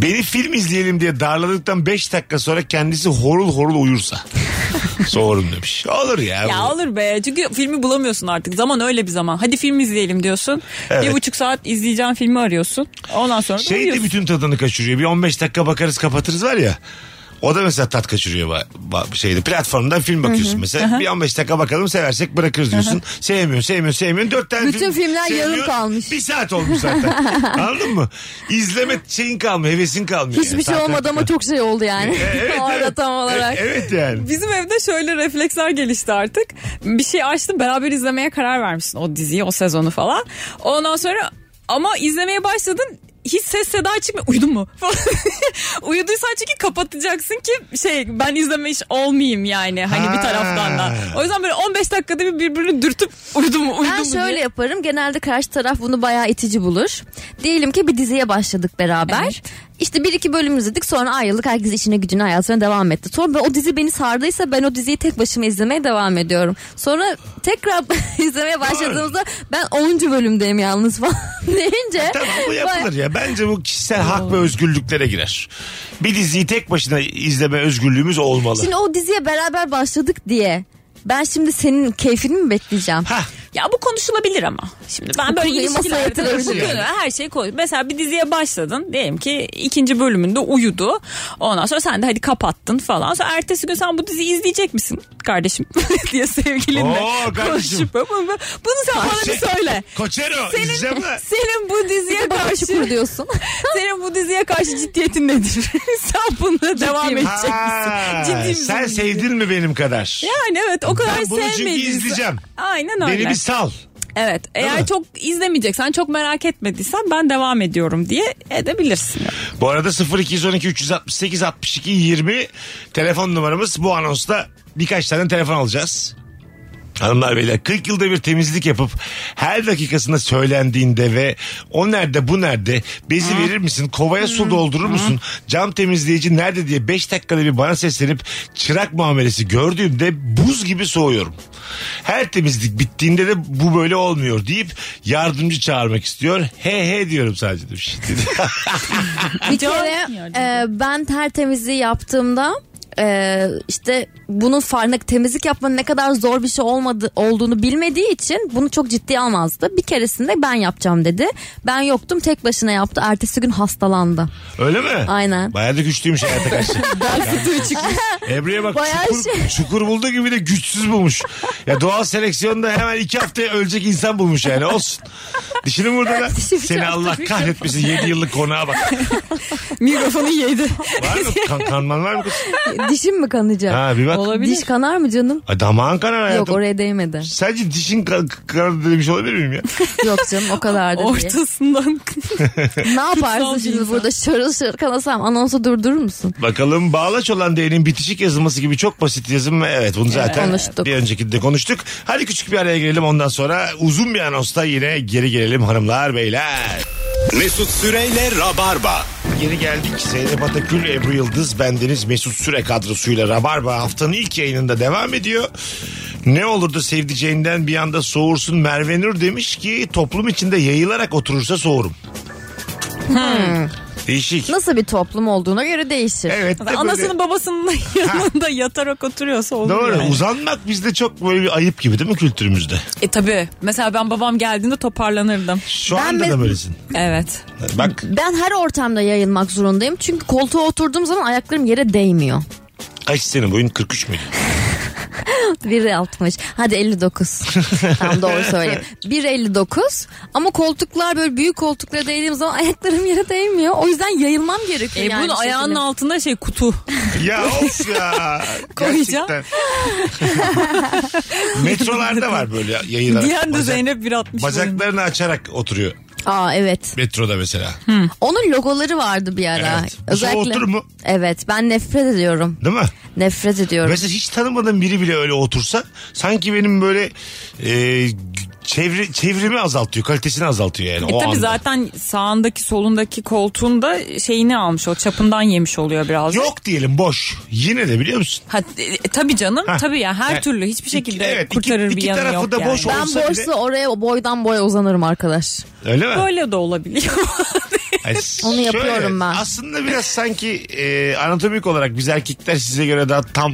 C: Beni film izleyelim diye darladıktan 5 dakika sonra kendisi horul horul uyursa. Sorun demiş. Olur ya.
D: Ya
C: bu.
D: olur be çünkü filmi bulamıyorsun artık zaman öyle bir zaman. Hadi film izleyelim diyorsun.
C: Evet.
D: Bir buçuk saat izleyeceğin filmi arıyorsun. Ondan sonra da
C: Şey de
D: uyuyorsun.
C: bütün tadını kaçırıyor. Bir 15 dakika bakarız kapatırız var ya. O da mesela tat kaçırıyor ba- ba- şeyde platformdan film bakıyorsun mesela. Bir 15 dakika bakalım seversek bırakırız diyorsun. Sevmiyor, sevmiyor, sevmiyor. Dört tane
E: Bütün
C: film
E: filmler yarım
C: sevmiyor.
E: kalmış.
C: Bir saat olmuş zaten. Anladın mı? İzleme şeyin kalmıyor, hevesin kalmıyor. yani.
E: Hiçbir şey
C: Saat-
E: olmadı ama çok şey oldu yani.
C: Evet,
E: Orada
C: evet.
E: tam olarak.
C: E- Evet yani.
D: Bizim evde şöyle refleksler gelişti artık. Bir şey açtım beraber izlemeye karar vermişsin o diziyi o sezonu falan. Ondan sonra ama izlemeye başladın hiç ses seda çıkmıyor. Uyudun mu? falan. Uyuduysan çünkü kapatacaksın ki şey ben izlemiş olmayayım yani hani
C: Ha.
D: bir taraftan da. O yüzden böyle 15 dakikada bir birbirini dürtüp uyudun mu uyudun
E: Ben
D: mu diye.
E: şöyle yaparım. Genelde karşı taraf bunu bayağı itici bulur. Diyelim ki bir diziye başladık beraber. İşte bir iki bölüm izledik sonra ayrıldık. Herkes işine gücüne hayatına devam etti. Sonra ben- o dizi beni sardıysa ben o diziyi tek başıma izlemeye devam ediyorum. Sonra tekrar izlemeye başladığımızda ben 10. bölümdeyim yalnız falan deyince.
C: Tabii E, bu
E: baya-
C: yapılır ya. Bence bu kişisel hak ve özgürlüklere girer. Bir diziyi tek başına izleme özgürlüğümüz olmalı.
E: Şimdi o diziye beraber başladık diye ben şimdi senin keyfini mi bekleyeceğim?
C: Ha,
D: Ya bu konuşulabilir ama. Şimdi ben böyle
E: Konuyu masaya
D: ilişkilerde
E: yatırabiliriz.
D: bu konuya her şeyi koy. Mesela bir diziye başladın. Diyelim ki ikinci bölümünde uyudu. Ondan sonra sen de hadi kapattın falan. Sonra ertesi gün sen bu diziyi izleyecek misin kardeşim diye sevgilinle
C: Oo, kardeşim.
D: konuşup. Bunu, bunu sen bana bir söyle.
C: Koçero izleyeceğim mi?
D: Senin bu diziye
E: Bana
D: karşı
E: şükür diyorsun.
D: senin bu diziye karşı ciddiyetin nedir? sen bununla devam
E: Ciddiyim.
D: edecek
C: Ha,
D: misin? Ciddi misin?
C: sen sevdin mi benim kadar?
D: Yani evet o kadar
C: Ben bunu çünkü
D: sevmediysen-
C: izleyeceğim.
D: Aynen öyle.
C: Beni bir sal.
D: Evet eğer
C: mi?
D: çok izlemeyeceksen çok merak etmediysen ben devam ediyorum diye edebilirsin.
C: Bu arada 0212 368 62 20 telefon numaramız. Bu anonsta birkaç tane telefon alacağız. Hanımlar beyler 40 yılda bir temizlik yapıp her dakikasında söylendiğinde ve o nerede bu nerede bezi verir misin kovaya su doldurur musun cam temizleyici nerede diye 5 dakikada bir bana seslenip çırak muamelesi gördüğümde buz gibi soğuyorum. Her temizlik bittiğinde de bu böyle olmuyor deyip yardımcı çağırmak istiyor. He he diyorum sadece demiş.
E: Bir
D: Can
E: kere
D: ya,
E: e, ben tertemizliği yaptığımda e, işte bunun farkında temizlik yapmanın ne kadar zor bir şey olmadı olduğunu bilmediği için bunu çok ciddiye almazdı. Bir keresinde ben yapacağım dedi. Ben yoktum tek başına yaptı. Ertesi gün hastalandı.
C: Öyle mi?
E: Aynen.
C: Bayağı da güçlüymüş hayata karşı. Ebru'ya bak
E: Bayağı
C: çukur,
E: şey.
C: çukur buldu gibi de güçsüz bulmuş. Ya doğal seleksiyonda hemen iki haftaya ölecek insan bulmuş yani olsun. Dişini vurdu lan.
E: Dişi
C: Seni
E: çarptı,
C: Allah
E: bir
C: kahretmesin 7 yıllık konağa bak.
D: Mikrofonu yedi.
C: Var mı? Kan, kanman var mı kız?
E: Dişim mi kanayacak?
C: Ha bir bak.
D: Olabilir.
E: Diş kanar mı canım?
C: Ay, damağın kanar hayatım.
E: Yok oraya değmedi.
C: Sadece dişin kan- kanadı demiş olabilir miyim ya?
E: Yok canım o kadar da değil.
D: Ortasından.
E: Ne yaparsın
D: kutsal bir
E: şimdi
D: insan.
E: burada şarıl şarıl kanasam anonsu durdurur musun?
C: Bakalım Bağlaç olan D'nin bitişik yazılması gibi çok basit yazım. mı? Evet bunu zaten
E: konuştuk.
C: bir önceki de konuştuk. Hadi küçük bir araya girelim ondan sonra uzun bir anonsta yine geri gelelim hanımlar beyler.
B: Mesut Süreyle Rabarba.
C: Yeni geldik. Zeynep Atakül, Ebru Yıldız, bendeniz Mesut Süre kadrosuyla Rabarba haftanın ilk yayınında devam ediyor. Ne olur da sevdiceğinden bir anda soğursun Merve Nur demiş ki toplum içinde yayılarak oturursa soğurum. Değişik.
E: Hmm. Nasıl bir toplum olduğuna göre değişir.
C: Evet. de böyle-
D: Anasının babasının yanında yatarak oturuyorsa olur
C: Doğru.
D: yani.
C: Uzanmak bizde çok böyle bir ayıp gibi değil mi kültürümüzde?
D: E tabi. Mesela ben babam geldiğinde toparlanırdım.
C: Şu
E: Ben
C: anda
E: mes-
C: da böylesin.
D: Evet.
C: Bak
E: Ben her ortamda yayılmak zorundayım. Çünkü koltuğa oturduğum zaman ayaklarım yere değmiyor.
C: kaç senin boyun 43 müydü?
E: Biri 60. Hadi 59. Tam doğru söyleyeyim. 1.59 ama koltuklar böyle büyük koltuklara değdiğim zaman ayaklarım yere değmiyor. O yüzden yayılmam gerekiyor.
D: E
E: yani
D: bunu
E: bir şekilde.
D: ayağının altında şey kutu.
C: Ya of ya.
D: Koyacağım.
C: Gerçekten. Metrolarda var böyle yayılarak.
D: Diyen de
C: Bacak-
D: Zeynep 1.60.
C: Bacaklarını açarak oturuyor.
E: Aa evet.
C: Metroda mesela.
E: Onun logoları vardı bir ara.
C: Evet. Bu sabah oturur mu?
E: Evet ben nefret ediyorum.
C: Değil mi?
E: Nefret ediyorum.
C: Mesela hiç tanımadığım biri bile öyle otursa sanki benim böyle e, çevre, çevremi azaltıyor. Kalitesini azaltıyor yani
D: E
C: o
D: tabi
C: anda.
D: zaten sağındaki solundaki koltuğun da şeyini almış o çapından yemiş oluyor biraz.
C: Yok diyelim boş. Yine de biliyor musun?
D: Ha, e, tabii canım
C: Ha.
D: tabii ya her
C: Yani
D: türlü hiçbir
C: iki-
D: şekilde
C: evet, iki-
D: kurtarır
C: iki
D: bir yanı
C: tarafı
D: yok
C: da
D: yani.
C: boş
E: ben
C: olsa bile-
E: borsa oraya boydan boya uzanırım arkadaş.
C: Öyle mi?
D: Böyle de olabiliyor.
C: Ay,
E: Onu
C: şöyle,
E: yapıyorum ben.
C: Aslında biraz sanki e, anatomik olarak biz erkekler size göre daha tam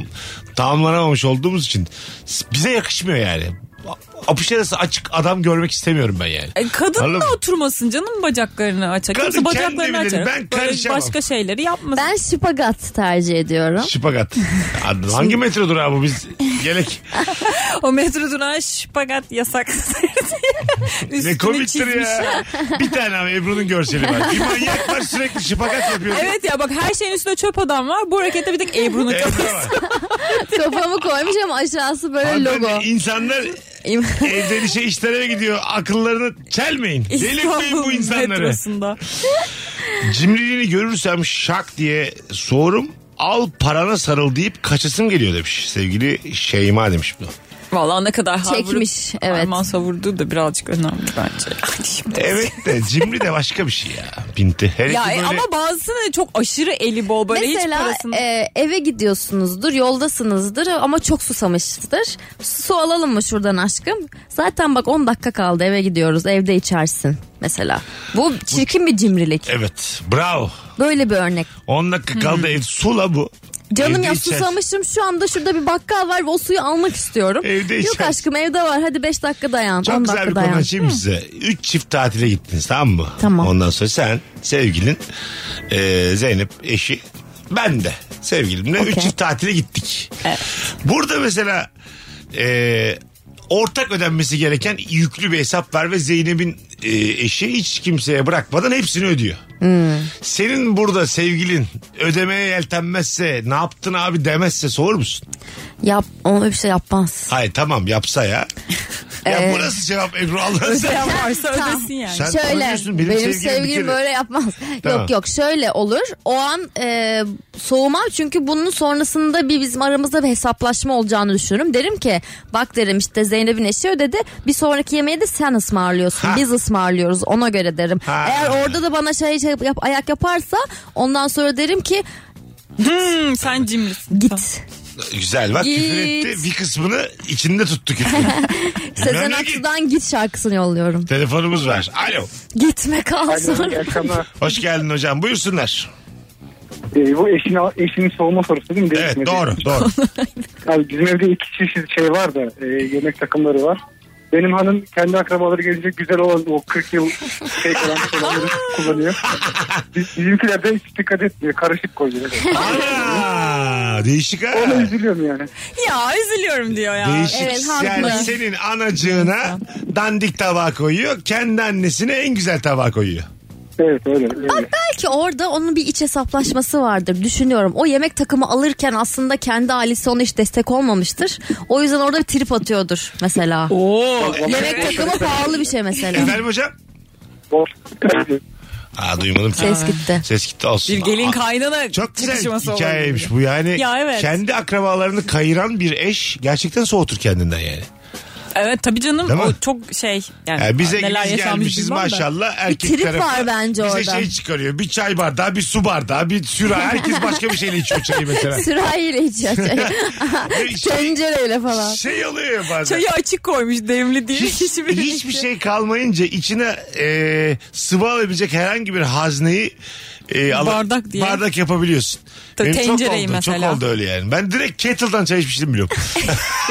C: tamamlanamamış olduğumuz için s- bize yakışmıyor yani. A- Apış arası açık adam görmek istemiyorum ben yani.
D: E, kadın
C: Anladın mı?
D: da oturmasın canım bacaklarını açar.
C: Kadın
D: Kimse
C: kendi bilir,
D: bacaklarını açar.
C: ben
D: Böyle
C: karışamam.
D: başka şeyleri yapmasın.
E: Ben şipagat tercih ediyorum.
C: Şipagat. Ad- Hangi metro durağı bu biz? Gerek.
D: O metro durağı şipagat yasak.
C: ne
D: Üstünü
C: komiktir
D: çizmiş.
C: ya. Bir tane abi Ebru'nun görseli var. Bir manyak var sürekli şipagat yapıyor.
D: Evet ya bak her şeyin üstünde çöp adam var. Bu harekette bir tek Ebru'nun
C: Ebru
D: kafası.
C: var.
E: Kafamı koymuş ama aşağısı böyle
C: Hanımefendi,
E: logo.
C: İnsanlar evden işe şey işlere gidiyor. Akıllarını çelmeyin. Delirtmeyin bu insanları.
D: metrosunda.
C: Cimriliğini görürsem şak diye soğurum. Al parana sarıl deyip kaçasım geliyor demiş. Sevgili Şeyma demiş bu.
D: Valla ne kadar har
E: Çekmiş,
D: vurup
E: evet.
D: Harman savurduğu da birazcık önemli bence. Ay, Şimdi.
C: Evet de cimri de başka bir şey ya. Pinti. Hele
D: Ya
C: ki
D: e,
C: böyle
D: ama bazısını çok aşırı eli bol böyle hiç
E: Mesela
D: parasını.
E: e, eve gidiyorsunuzdur, yoldasınızdır ama çok susamıştır. Su alalım mı şuradan aşkım? Zaten bak 10 dakika kaldı eve gidiyoruz. Evde içersin mesela. Bu çirkin bir cimrilik.
C: Evet. Bravo.
E: Böyle bir örnek.
C: 10 dakika
D: Hmm.
C: kaldı ev. Sula bu.
E: Canım
C: Evde
E: ya
C: içer.
E: susamışım şu anda şurada bir bakkal var ve o suyu almak istiyorum.
C: Evde
E: Yok
C: içer.
E: aşkım evde var hadi 5 dakika dayan.
C: Çok
E: 10
C: güzel bir
E: dakika
C: konu
E: dayan.
C: açayım mı size. Üç çift tatile gittiniz tamam mı?
E: Tamam.
C: Ondan sonra sen, sevgilin, e, Zeynep eşi, ben de sevgilimle üç
E: Okey.
C: çift tatile gittik. Burada mesela e, ortak ödenmesi gereken yüklü bir hesap var ve Zeynep'in e, eşi hiç kimseye bırakmadan hepsini ödüyor.
E: Hmm.
C: Senin burada sevgilin ödemeye yeltenmezse ne yaptın abi demezse sorur musun?
E: Yap, onu öyle bir şey yapmaz.
C: Hayır tamam yapsa ya. ya
E: Ee,
C: bu nasıl cevap Ebru Allah'ını
D: Ödeyen
C: seversen.
D: varsa
E: Tamam.
D: ödesin yani.
C: Sen
E: şöyle
C: tanıyorsun,
E: benim,
C: bir
E: sevgilim,
C: kere-
E: böyle yapmaz.
C: Tamam.
E: Yok yok şöyle olur. O an e, soğumam çünkü bunun sonrasında bir bizim aramızda bir hesaplaşma olacağını düşünürüm. Derim ki bak derim işte Zeynep'in eşi ödedi. Bir sonraki yemeği de sen ısmarlıyorsun.
C: Ha.
E: Biz ısmarlıyoruz ona göre derim.
C: Ha.
E: Eğer orada da bana şey, şey yap, ayak yaparsa ondan sonra derim ki
D: Hmm, sen cimrisin.
E: git.
C: Güzel bak küfür
E: Git.
C: etti. Bir kısmını içinde tuttu küfür.
E: Sezen
C: Önemli ki-
E: Aksu'dan git şarkısını yolluyorum.
C: Telefonumuz var. Alo.
E: Gitme
J: Alo,
E: kalsın.
J: iyi akşamlar.
C: Hoş geldin hocam. Buyursunlar.
J: Ee, bu eşin, eşinin soğuma sorusu değil mi?
C: Evet
J: Değişmedi.
C: doğru doğru.
J: Abi bizim evde iki çeşit şey var da e, yemek takımları var. Benim hanım kendi akrabaları gelince güzel olan o 40 yıl şey olan olanları kullanıyor. Biz- Bizimkiler de hiç dikkat etmiyor. Karışık koyuyor.
C: Ana değişik ha.
J: Ona üzülüyorum yani.
D: Ya üzülüyorum diyor ya.
C: Değişik.
E: Evet,
C: yani
E: haklı.
C: senin anacığına dandik tabağa koyuyor. Kendi annesine en güzel tabağa koyuyor.
J: Evet öyle. öyle.
E: Belki orada onun bir iç hesaplaşması vardır düşünüyorum. O yemek takımı alırken aslında kendi ailesi ona hiç destek olmamıştır. O yüzden orada bir trip atıyordur mesela.
D: Oo.
E: Yemek takımı pahalı bir şey mesela.
C: Efendim hocam?
J: Bor.
C: Aa duymadım.
E: Ses gitti.
C: Ses gitti olsun.
D: Bir gelin
C: Aa,
D: kaynana
C: Çok güzel
D: çıkışması olabilir.
C: hikayeymiş bu yani.
D: Ya evet.
C: Kendi akrabalarını kayıran bir eş gerçekten soğutur kendinden yani.
D: Evet tabii canım
C: Değil mi?
D: o çok şey yani,
C: Yani E, bize
D: neler
C: biz
D: yaşanmış
C: gelmişiz
D: bilmem de.
C: maşallah. Erkek
E: trip
C: tarafı
E: var bence
C: bize
E: orada.
C: şey çıkarıyor. Bir çay bardağı, bir su bardağı, bir sürahi. Herkes başka bir şeyle içiyor çayı mesela.
E: Sürahiyle içiyor. şey.
C: Ve şey,
E: Tencereyle falan.
C: şey oluyor ya bazen.
D: Çayı açık koymuş demli diye.
C: Hiç- şey hiçbir şey kalmayınca içine e, sıvı alabilecek herhangi bir hazneyi e, alıp
D: Bardak diye.
C: bardak yapabiliyorsun.
D: Tabii
C: Benim çok
D: tencereyi
C: oldu,
D: mesela.
C: Çok oldu öyle yani. Ben direkt kettle'dan çay içmiştim biliyorum.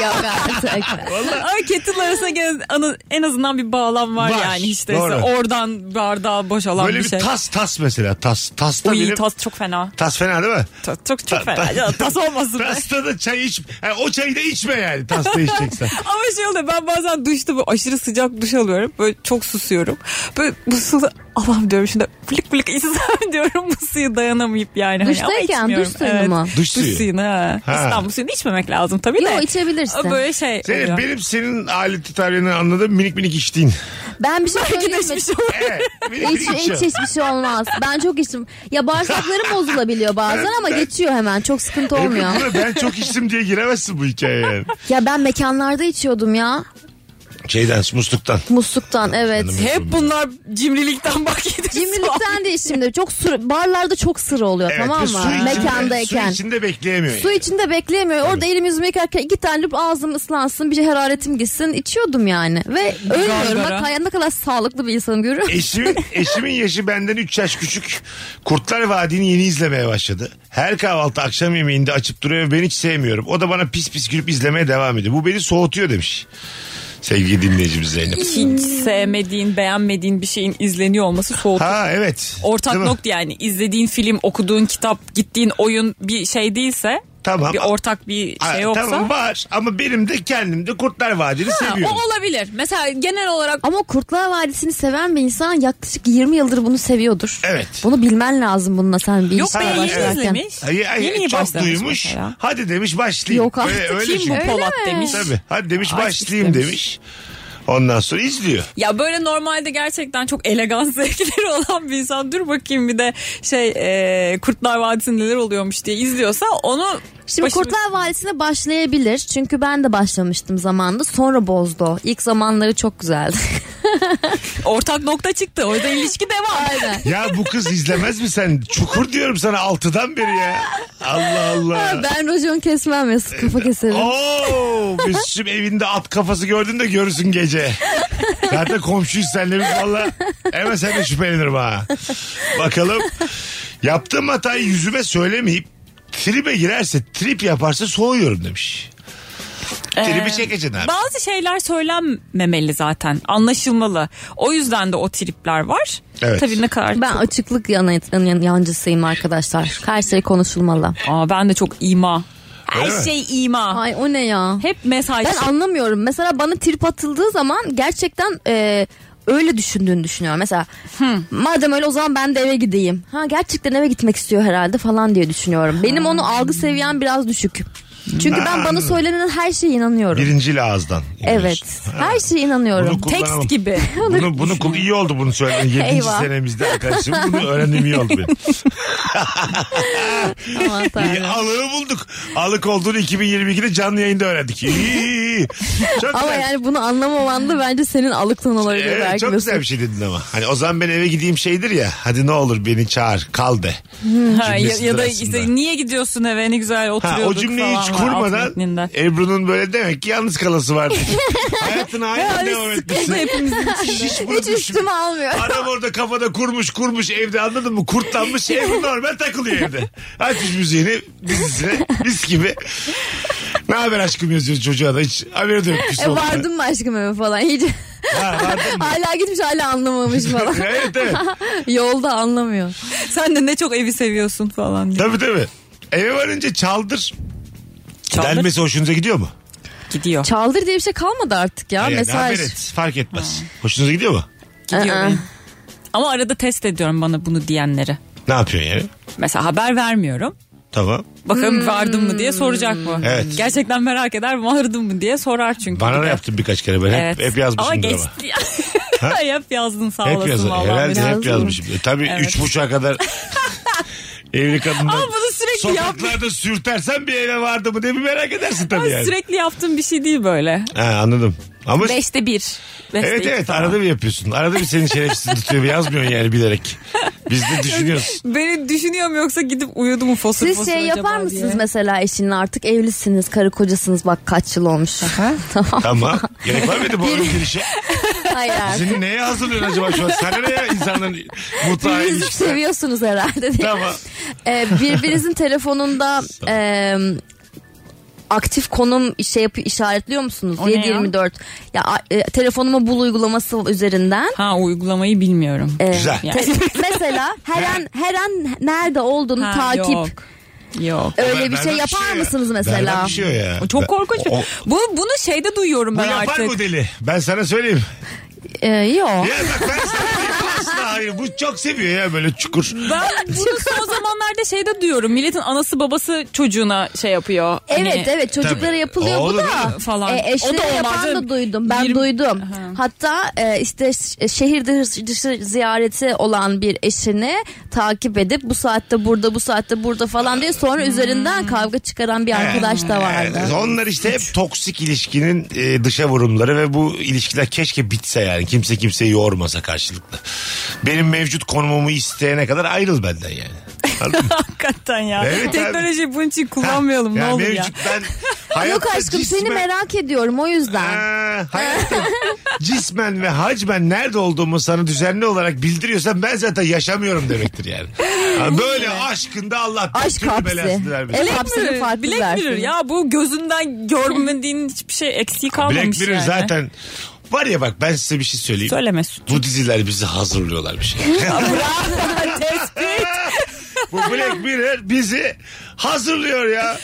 E: Ya ben-
D: Ay kettle arasında gene- anı- en azından bir bağlam var,
C: Var,
D: yani işte.
C: doğru.
D: Oradan bardağı boşalan
C: Böyle
D: bir
C: bir,
D: şey.
C: tas tas mesela. Tas tas da
D: Uy,
C: benim. Tas...
D: tas çok fena.
C: fena değil mi?
D: Tas, çok
C: Ta-
D: çok fena.
C: ta-
D: Ya, tas olmasın. be.
C: Tas'ta da çay iç. Yani o çayı da içme yani. Tas'ta içeceksen.
D: Ama şey oluyor ben bazen duşta böyle aşırı sıcak duş alıyorum. Böyle çok susuyorum. Böyle bu suda Allah'ım diyorum şimdi flik flik içsem diyorum bu suyu dayanamayıp yani. Hani ama
E: Duştayken duş
D: içmiyorum.
E: suyunu mu?
C: Duş suyu.
D: suyunu ha.
C: Ha.
D: İstanbul suyunu içmemek lazım tabii de.
E: Yo, içebilirsin.
D: O böyle şey
C: Senin,
D: oluyor.
C: benim senin aleti tarihini anladım minik minik içtiğin.
E: Ben bir şey
D: Belki de
E: söyleyeyim mi?
D: içmiş olur.
C: Evet, minik
E: Hiç,
C: minik
E: hiç
C: içiyorum.
E: hiçbir şey olmaz. Ben çok içtim. Ya bağırsaklarım bozulabiliyor bazen ama geçiyor hemen. Çok sıkıntı olmuyor.
C: Ebru, ben çok içtim diye giremezsin bu hikayeye yani.
E: Ya ben mekanlarda içiyordum ya.
C: Şeyden musluktan.
E: Musluktan evet.
D: Hep bunlar cimrilikten bak
E: Cimrilikten de şimdi çok sır, barlarda çok sır oluyor
C: Evet, ve
E: tamam
C: su
E: mı?
C: içinde-
E: Mekandayken.
C: Su içinde bekleyemiyor.
E: Su
C: yani.
E: içinde bekleyemiyor. Orada elimi yüzümü yıkarken iki tane lüp ağzım ıslansın, bir şey hararetim gitsin. İçiyordum yani. Ve ölmüyorum.
D: Gargara.
E: Bak hayat ne kadar sağlıklı bir insanım görüyor musun?
C: Eşimin, eşimin yaşı benden 3 yaş küçük. Kurtlar Vadi'ni yeni izlemeye başladı. Her kahvaltı akşam yemeğinde açıp duruyor ve ben hiç sevmiyorum. O da bana pis pis gülüp izlemeye devam ediyor. Bu beni soğutuyor demiş. Sevgili dinleyicimiz Zeynep.
D: Hiç sevmediğin, beğenmediğin bir şeyin izleniyor olması soğutur.
C: Ha evet.
D: Ortak
C: Değil mi?
D: nokta yani izlediğin film, okuduğun kitap, gittiğin oyun bir şey değilse
C: Tamam.
D: bir ortak bir
C: Ha,
D: şey yoksa.
C: Tamam var ama benim de kendim de Kurtlar Vadi'ni
D: Ha,
C: seviyorum.
D: o olabilir. Mesela genel olarak
E: Ama Kurtlar Vadisi'ni seven bir insan yaklaşık 20 yıldır bunu seviyordur.
C: Evet.
E: Bunu bilmen lazım bununla sen bir
D: yok be
E: işe
D: yeni
E: başlarken.
D: izlemiş.
C: Ay, ay,
D: yeni
C: çok
D: başlamış
C: duymuş.
D: mesela.
C: Hadi demiş başlayayım. Ee,
E: Yok artık,
C: Öyle- öyle
D: Kim bu
C: çünkü.
D: Polat demiş.
C: Tabii. Hadi demiş
D: Ay,
C: başlayayım
D: istemiş.
C: demiş. Ondan sonra izliyor.
D: Ya böyle normalde gerçekten çok elegans zevkleri olan bir insan dur bakayım bir de şey e, Kurtlar Vadisi'nde neler oluyormuş diye izliyorsa onu
E: Şimdi
D: başımı-
E: Kurtlar Vadisi'ne başlayabilir. Çünkü ben de başlamıştım zamanda. Sonra bozdu. o. İlk zamanları çok güzeldi.
D: ortak nokta çıktı. Orada ilişki devam.
E: Aynen.
C: Ya bu kız izlemez mi sen? Çukur diyorum sana altıdan beri ya. Allah Allah.
E: ben racon kesmem ya kafa keserim.
C: Oo, Mesut'cum evinde at kafası gördün de görürsün gece. Zaten komşuyuz senle biz valla. Hemen sen de şüphelenirim ha. Bakalım. Yaptığım hatayı yüzüme söylemeyip tribe girerse trip yaparsa soğuyorum demiş.
E: Ee,
C: Tribi çekeceksin abi.
D: Bazı şeyler söylenmemeli zaten. Anlaşılmalı. O yüzden de o tripler var.
C: Evet.
D: Tabii ne kadar
E: Ben açıklık yana, yan- yancısıyım arkadaşlar. Her şey konuşulmalı.
D: Aa, ben de çok ima. Her
C: Öyle mi?
D: şey
C: Ah.
D: ima.
E: Ay o ne ya?
D: Hep mesaj.
E: Ben anlamıyorum. Mesela bana trip atıldığı zaman gerçekten e, öyle düşündüğünü düşünüyorum. Mesela
C: Hmm.
E: madem öyle o zaman ben de eve gideyim. Ha gerçekten eve gitmek istiyor herhalde falan diye düşünüyorum. Benim onu algı seviyem biraz düşük. Çünkü ben bana söylenen her şeye inanıyorum.
C: Birinciyle ağızdan.
E: Evet. Her şeye inanıyorum.
C: Bunu kullanamam.
D: Tekst gibi.
C: Bunu, bunu kul- iyi oldu bunu söylemen. Yedinci
E: Eyvah.
C: senemizde arkadaşım bunu öğrendim iyi oldu benim.
E: Aman tanrım.
C: İyi, alığı bulduk. Alık olduğunu 2022'de canlı yayında öğrendik. İyi, iyi, iyi. Çok
E: Ama
C: güzel.
E: yani bunu anlamaman da bence senin alıktan olabilir.
C: Evet,
E: belki
C: çok
E: de.
C: güzel bir şey dedin ama. Hani o zaman ben eve gideyim şeydir ya. Hadi ne olur beni çağır kal de.
D: Ha, ya, ya da
C: aslında.
D: işte niye gidiyorsun eve ne güzel
C: Ha,
D: oturuyorduk
C: o cümleyi hiç
D: falan var, alt
C: kurmadan
D: metninden.
C: Ebru'nun böyle demek ki yalnız kalası vardı. Hayatına aynı
D: Abi
C: devam
D: sıkıldı
C: etmişsin.
D: hepimizin içinde.
C: Hiç bunu
E: Hiç
C: düşün-
E: üstüme almıyor.
C: Adam orada kafada kurmuş kurmuş evde anladın mı? Kurtlanmış ev normal takılıyor evde. Açmış müziğini dizisine mis gibi. Ne haber aşkım yazıyor çocuğa da hiç haberi de yok. küs
E: E,
C: olduğuna.
E: vardım mı aşkım eve falan hiç.
C: Ha, vardın mı?
E: hala gitmiş hala anlamamış falan.
C: evet evet.
E: Yolda anlamıyor.
D: Sen de ne çok evi seviyorsun falan diye.
C: Tabii tabii. Eve varınca çaldır,
D: Çaldır
C: denmesi hoşunuza gidiyor mu?
D: gidiyor.
E: Çaldır diye bir şey kalmadı artık ya.
C: E, Yani
E: Mesaj.
C: haber et, fark etmez. Hoşunuza gidiyor mu?
D: gidiyor
E: Aa.
D: benim. Ama arada test ediyorum bana bunu diyenleri.
C: Ne yapıyorsun yani?
D: Mesela haber vermiyorum.
C: Tamam.
D: Bakalım vardım mı diye soracak mı?
C: Evet.
D: Gerçekten merak eder vardım mı diye sorar çünkü.
C: Bana
D: Bir
C: da
D: de.
C: yaptın birkaç kere ben.
D: Evet.
C: Hep, hep yazmışım
D: Ama
C: ama.
D: geçti. hep yazdın sağ
C: Hep
D: olasın
C: yazdım.
D: vallahi.
C: Herhalde
E: Yazdım.
C: hep yazmışım. E, tabii
D: Evet.
C: üç buçuğa kadar evli kadınlar.
D: Ama bunu sürekli
C: Sokaklarda sürtersen bir eve vardı mı diye bir merak edersin tabii
D: Ama
C: yani.
D: Sürekli yaptığım bir şey değil böyle.
C: Ha, anladım. Ama
D: Beşte bir. Beşte
C: evet
D: iki
C: evet
D: falan.
C: arada bir yapıyorsun. Arada bir senin şerefsiz tutuyor. Yazmıyorsun yani bilerek. Biz de düşünüyoruz.
D: Beni düşünüyorum yoksa gidip uyudu mu fosur
E: Siz
D: fosur
E: şey
D: acaba
E: yapar mısınız
D: diye.
E: mesela eşinle artık evlisiniz, karı kocasınız bak kaç yıl olmuş. tamam.
C: Tamam. Gerek var mıydı bu arada girişe?
E: Hayır hayır.
C: Seni neye hazırlıyorsun acaba şu an? Sen nereye insanların mutfağı
E: Birbirinizi seviyorsunuz herhalde. diye.
C: Tamam.
E: Ee, birbirinizin telefonunda e, aktif konum şey yapı işaretliyor musunuz?
D: O ne ya?
E: 724. Ya, a- e, telefonuma bul uygulaması üzerinden.
D: Ha uygulamayı bilmiyorum.
E: e,
C: Güzel.
D: Yani.
E: mesela her an her an nerede olduğunu
D: Ha,
E: takip.
D: Yok. Yok.
E: Öyle
C: Ben-
E: bir
C: ben
E: şey
C: de
E: yapar
C: ya. Ben
E: mısınız
C: de
E: mesela?
C: bir şey o ya.
D: O Çok korkunç. bir-
C: O- o-
D: Bu bunu şeyde duyuyorum
C: Bu
D: ben
C: yapar
D: artık.
C: mı deli? Ben sana söyleyeyim.
E: Ee, yok.
C: Ya bak ben sana diyeyim. Asla hayır. Bu çok seviyor ya böyle çukur.
D: Ben bunu son zamanlarda şeyde duyuyorum. Milletin anası babası çocuğuna şey yapıyor.
E: Evet
D: Hani-
E: evet çocuklara
C: Tabii.
E: yapılıyor
C: Olur
E: bu da
C: canım.
D: Falan.
E: E, eşlere
D: O da olmaz.
E: yapan da duydum ben
D: Yirmi-
E: duydum.
D: Aha.
E: Hatta e, işte ş- şehir dışı, dışı ziyareti olan bir eşini takip edip bu saatte burada bu saatte burada falan diye sonra
D: Hmm.
E: üzerinden kavga çıkaran bir arkadaş da vardı.
C: Evet, onlar işte hep toksik ilişkinin e, dışa vurumları ve bu ilişkiler keşke bitse yani. Kimse kimseyi yormasa karşılıklı. Benim mevcut konumumu isteyene kadar ayrıl benden yani. Anladın mı?
D: Hakikaten ya.
C: Evet abi.
D: Teknolojiyi bunun için kullanmayalım
C: Yani
D: ne olur ya.
C: mevcut Ben hayatta
E: Yok aşkım seni
C: cismen-
E: merak ediyorum o yüzden.
C: Ha, hayatta Ee, cismen ve hacmen nerede olduğumu sana düzenli olarak bildiriyorsan ben zaten yaşamıyorum demektir yani. Yani böyle aşkında Allah
E: Aşk
C: türlü
E: hapsi.
C: belasını vermesin.
E: El
D: Black
E: hapsinin
D: Mirror,
E: farklı
D: Black
E: versiyonu.
D: Mirror ya bu gözünden görmediğin hiçbir şey eksiği kalmamış
C: Black Mirror
D: yani.
C: zaten var ya bak ben size bir şey söyleyeyim.
D: Söyle Mesut.
C: Bu diziler bizi hazırlıyorlar bir şey.
D: Tespit.
C: Bu Black Mirror bizi hazırlıyor ya.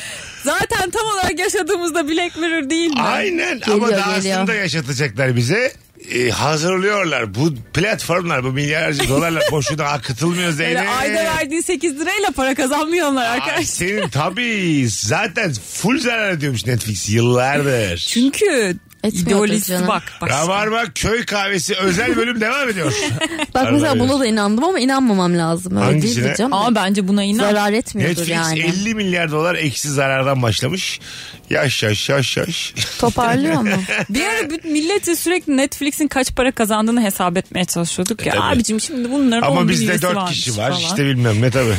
D: Zaten tam olarak yaşadığımızda Black Mirror değil mi?
C: Aynen ama
E: Geliyor,
C: daha
E: geliyor.
C: aslında yaşatacaklar bize. Ee, hazırlıyorlar. Bu platformlar bu milyarlarca dolarlar boşuna akıtılmıyor
D: Böyle
C: Zeynep.
D: ayda verdiğin 8 lirayla para kazanmıyorlar
C: Ay,
D: arkadaşlar.
C: senin tabii zaten full zarar ediyormuş Netflix yıllardır.
D: Çünkü
E: Etmiyordur
D: ideolojisi
E: canım.
D: bak. bak.
C: Rabarba köy kahvesi özel bölüm devam ediyor.
E: Bak mesela
C: Arada
E: buna da inandım ama inanmamam lazım. Öyle
C: Hangisine?
E: değil diyeceğim.
D: Ama bence buna inan.
E: Zarar etmiyordur
C: Netflix
E: yani.
C: 50 milyar dolar eksi zarardan başlamış. Yaş yaş yaş yaş.
E: Toparlıyor mu?
D: Bir ara bütün milleti sürekli Netflix'in kaç para kazandığını hesap etmeye çalışıyorduk ya.
C: E, tabii.
D: Abicim şimdi bunların
C: Ama
D: 10 bin
C: bizde
D: üyesi
C: 4
D: varmış
C: kişi var.
D: falan.
C: İşte bilmem ne tabii.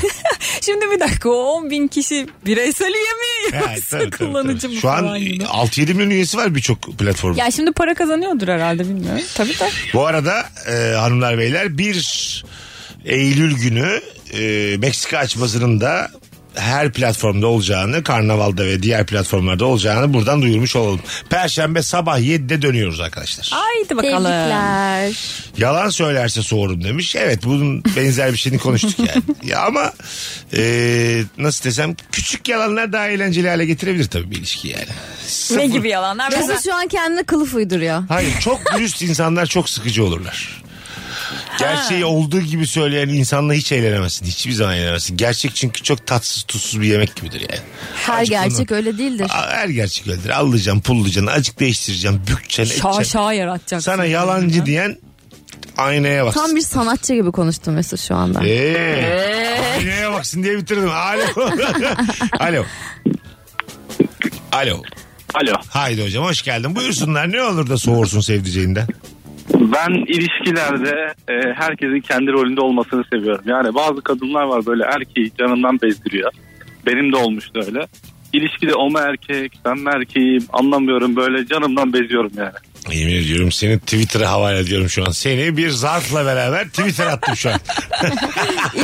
D: Şimdi bir dakika o 10 bin kişi bireysel üye mi
C: Evet,
D: yoksa
C: tabii, tabii,
D: kullanıcı
C: tabii.
D: mı
C: Şu an
D: falan gibi.
C: 6-7 milyon üyesi var birçok platformun.
D: Ya şimdi para kazanıyordur herhalde bilmiyorum. Tabii de.
C: Bu arada e, hanımlar beyler 1 Eylül günü e, Meksika açmasının da her platformda olacağını, Karnaval'da ve diğer platformlarda olacağını buradan duyurmuş olalım. Perşembe sabah 7'de dönüyoruz arkadaşlar.
D: Haydi bakalım.
E: Tebrikler.
C: Yalan söylerse soğurum demiş. Evet bunun benzer bir şeyini konuştuk yani. ya ama e, nasıl desem küçük yalanlar daha eğlenceli hale getirebilir tabii bir ilişki yani. Sıfır-
D: Ne gibi yalanlar? Mesela
E: Mesut şu an kendine kılıf uyduruyor.
C: Hayır çok dürüst insanlar çok sıkıcı olurlar. Gerçeği olduğu gibi söyleyen insanla hiç eğlenemezsin. Hiçbir zaman eğlenemezsin. Gerçek çünkü çok tatsız tuzsuz bir yemek gibidir yani.
E: Her
C: Azıcık
E: gerçek
C: bunu-
E: öyle değildir.
C: A- Her gerçek öyledir. Allayacaksın, pullayacaksın, acık değiştireceksin, bükeceksin,
D: şaşa
C: edeceksin.
D: yaratacaksın.
C: Sana yalancı diyen aynaya baksın.
E: Tam bir sanatçı gibi konuştum Mesut şu anda.
C: E? Ee, aynaya baksın diye bitirdim. Alo. Alo. Alo.
F: Alo.
C: Haydi hocam hoş geldin. Buyursunlar ne olur da soğursun sevdiceğinden.
G: Ben ilişkilerde e, herkesin kendi rolünde olmasını seviyorum. Yani bazı kadınlar var böyle erkeği canından bezdiriyor. Benim de olmuştu öyle. İlişkide o mu erkek, ben mi erkeğim anlamıyorum böyle canımdan beziyorum yani.
C: Yemin ediyorum seni Twitter'a havale ediyorum şu an. Seni bir zarfla beraber Twitter'a attım şu an.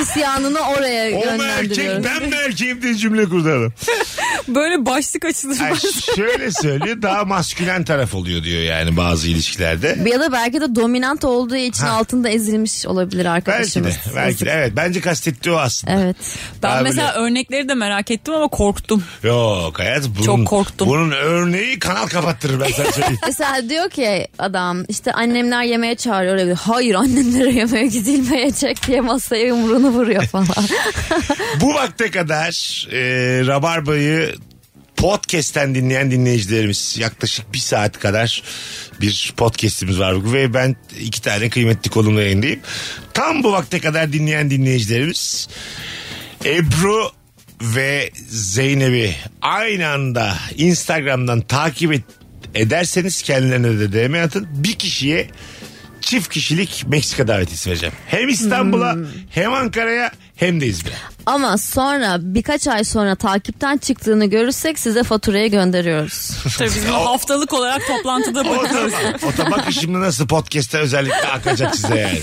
E: İsyanını oraya
C: o mu erkek
E: yönlendiriyoruz.
C: ben mi erkeğim diye cümle kurdu adam.
D: Böyle başlık açılır.
C: Yani şöyle söylüyor daha maskülen taraf oluyor diyor yani bazı ilişkilerde.
E: Ya da belki de dominant olduğu için altında ezilmiş olabilir
C: Belki
E: arkadaşımız.
C: de. Belki de. Evet bence kastettiği o aslında.
E: Evet.
D: Ben
C: Daha
D: mesela örnekleri de merak ettim ama korktum.
C: Yok hayat bunun,
D: Çok korktum.
C: bunun örneği kanal kapattırır ben sana söyleyeyim.
E: Mesela diyor ki adam işte annemler yemeğe çağırıyor. Öyle bir, Hayır annemlere yemeğe gidilmeyecek diye masaya yumruğunu vuruyor falan.
C: Bu vakte kadar e, Rabarba'yı podcast'ten dinleyen dinleyicilerimiz yaklaşık bir saat kadar bir podcast'imiz var ve ben iki tane kıymetli konumla yayındayım. Tam bu vakte kadar dinleyen dinleyicilerimiz Ebru ve Zeynep'i aynı anda Instagram'dan takip et, ederseniz kendilerine de DM atın. Bir kişiye çift kişilik Meksika davetiyesi vereceğim. Hem İstanbul'a hem Ankara'ya hem de İzmir'e.
E: Ama sonra birkaç ay sonra takipten çıktığını görürsek size faturaya gönderiyoruz.
D: Tabii biz bunu haftalık olarak toplantıda
C: O da,
D: bakıyoruz.
C: o da bakın şimdi nasıl podcast'te özellikle akacak size yani.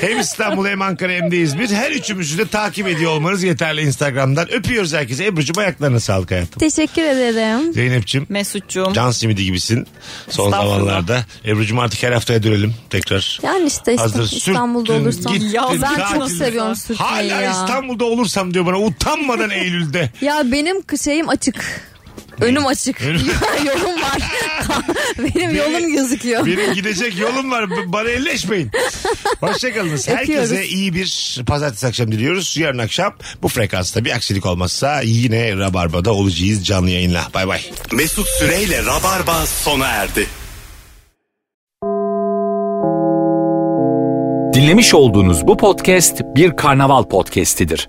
C: Hem İstanbul hem Ankara hem de İzmir. Her üçümüzü de takip ediyor olmanız yeterli Instagram'dan. Öpüyoruz herkese. Ebru'cum ayaklarına sağlık hayatım.
E: Teşekkür ederim.
C: Zeynep'ciğim
D: Mesut'cum.
C: can simidi gibisin son
D: Estağfurullah.
C: zamanlarda. Ebru'cum artık her haftaya dönelim tekrar.
E: Yani işte İsta-
C: Hazır
E: İstanbul'da
C: sürttün,
E: olursam.
C: gittin,
E: ya ben çok
C: tatilde.
E: seviyorum sürtmeyi
C: Hala
E: ya.
C: İstanbul'da olursam diyor bana utanmadan Eylül'de.
E: Ya benim k- şeyim açık. Önüm açık.
C: Önüm-
E: yolum var. benim yolum gözüküyor.
C: Benim gidecek yolum var. B- Bana elleşmeyin. Hoşçakalınız. Herkese
E: Öpüyoruz.
C: iyi bir pazartesi akşam diliyoruz. Yarın akşam bu frekansta bir aksilik olmazsa yine Rabarba'da olacağız canlı yayınla. Bay bay.
B: Mesut Süreyle Rabarba sona erdi.
A: Dinlemiş olduğunuz bu podcast bir karnaval podcastidir.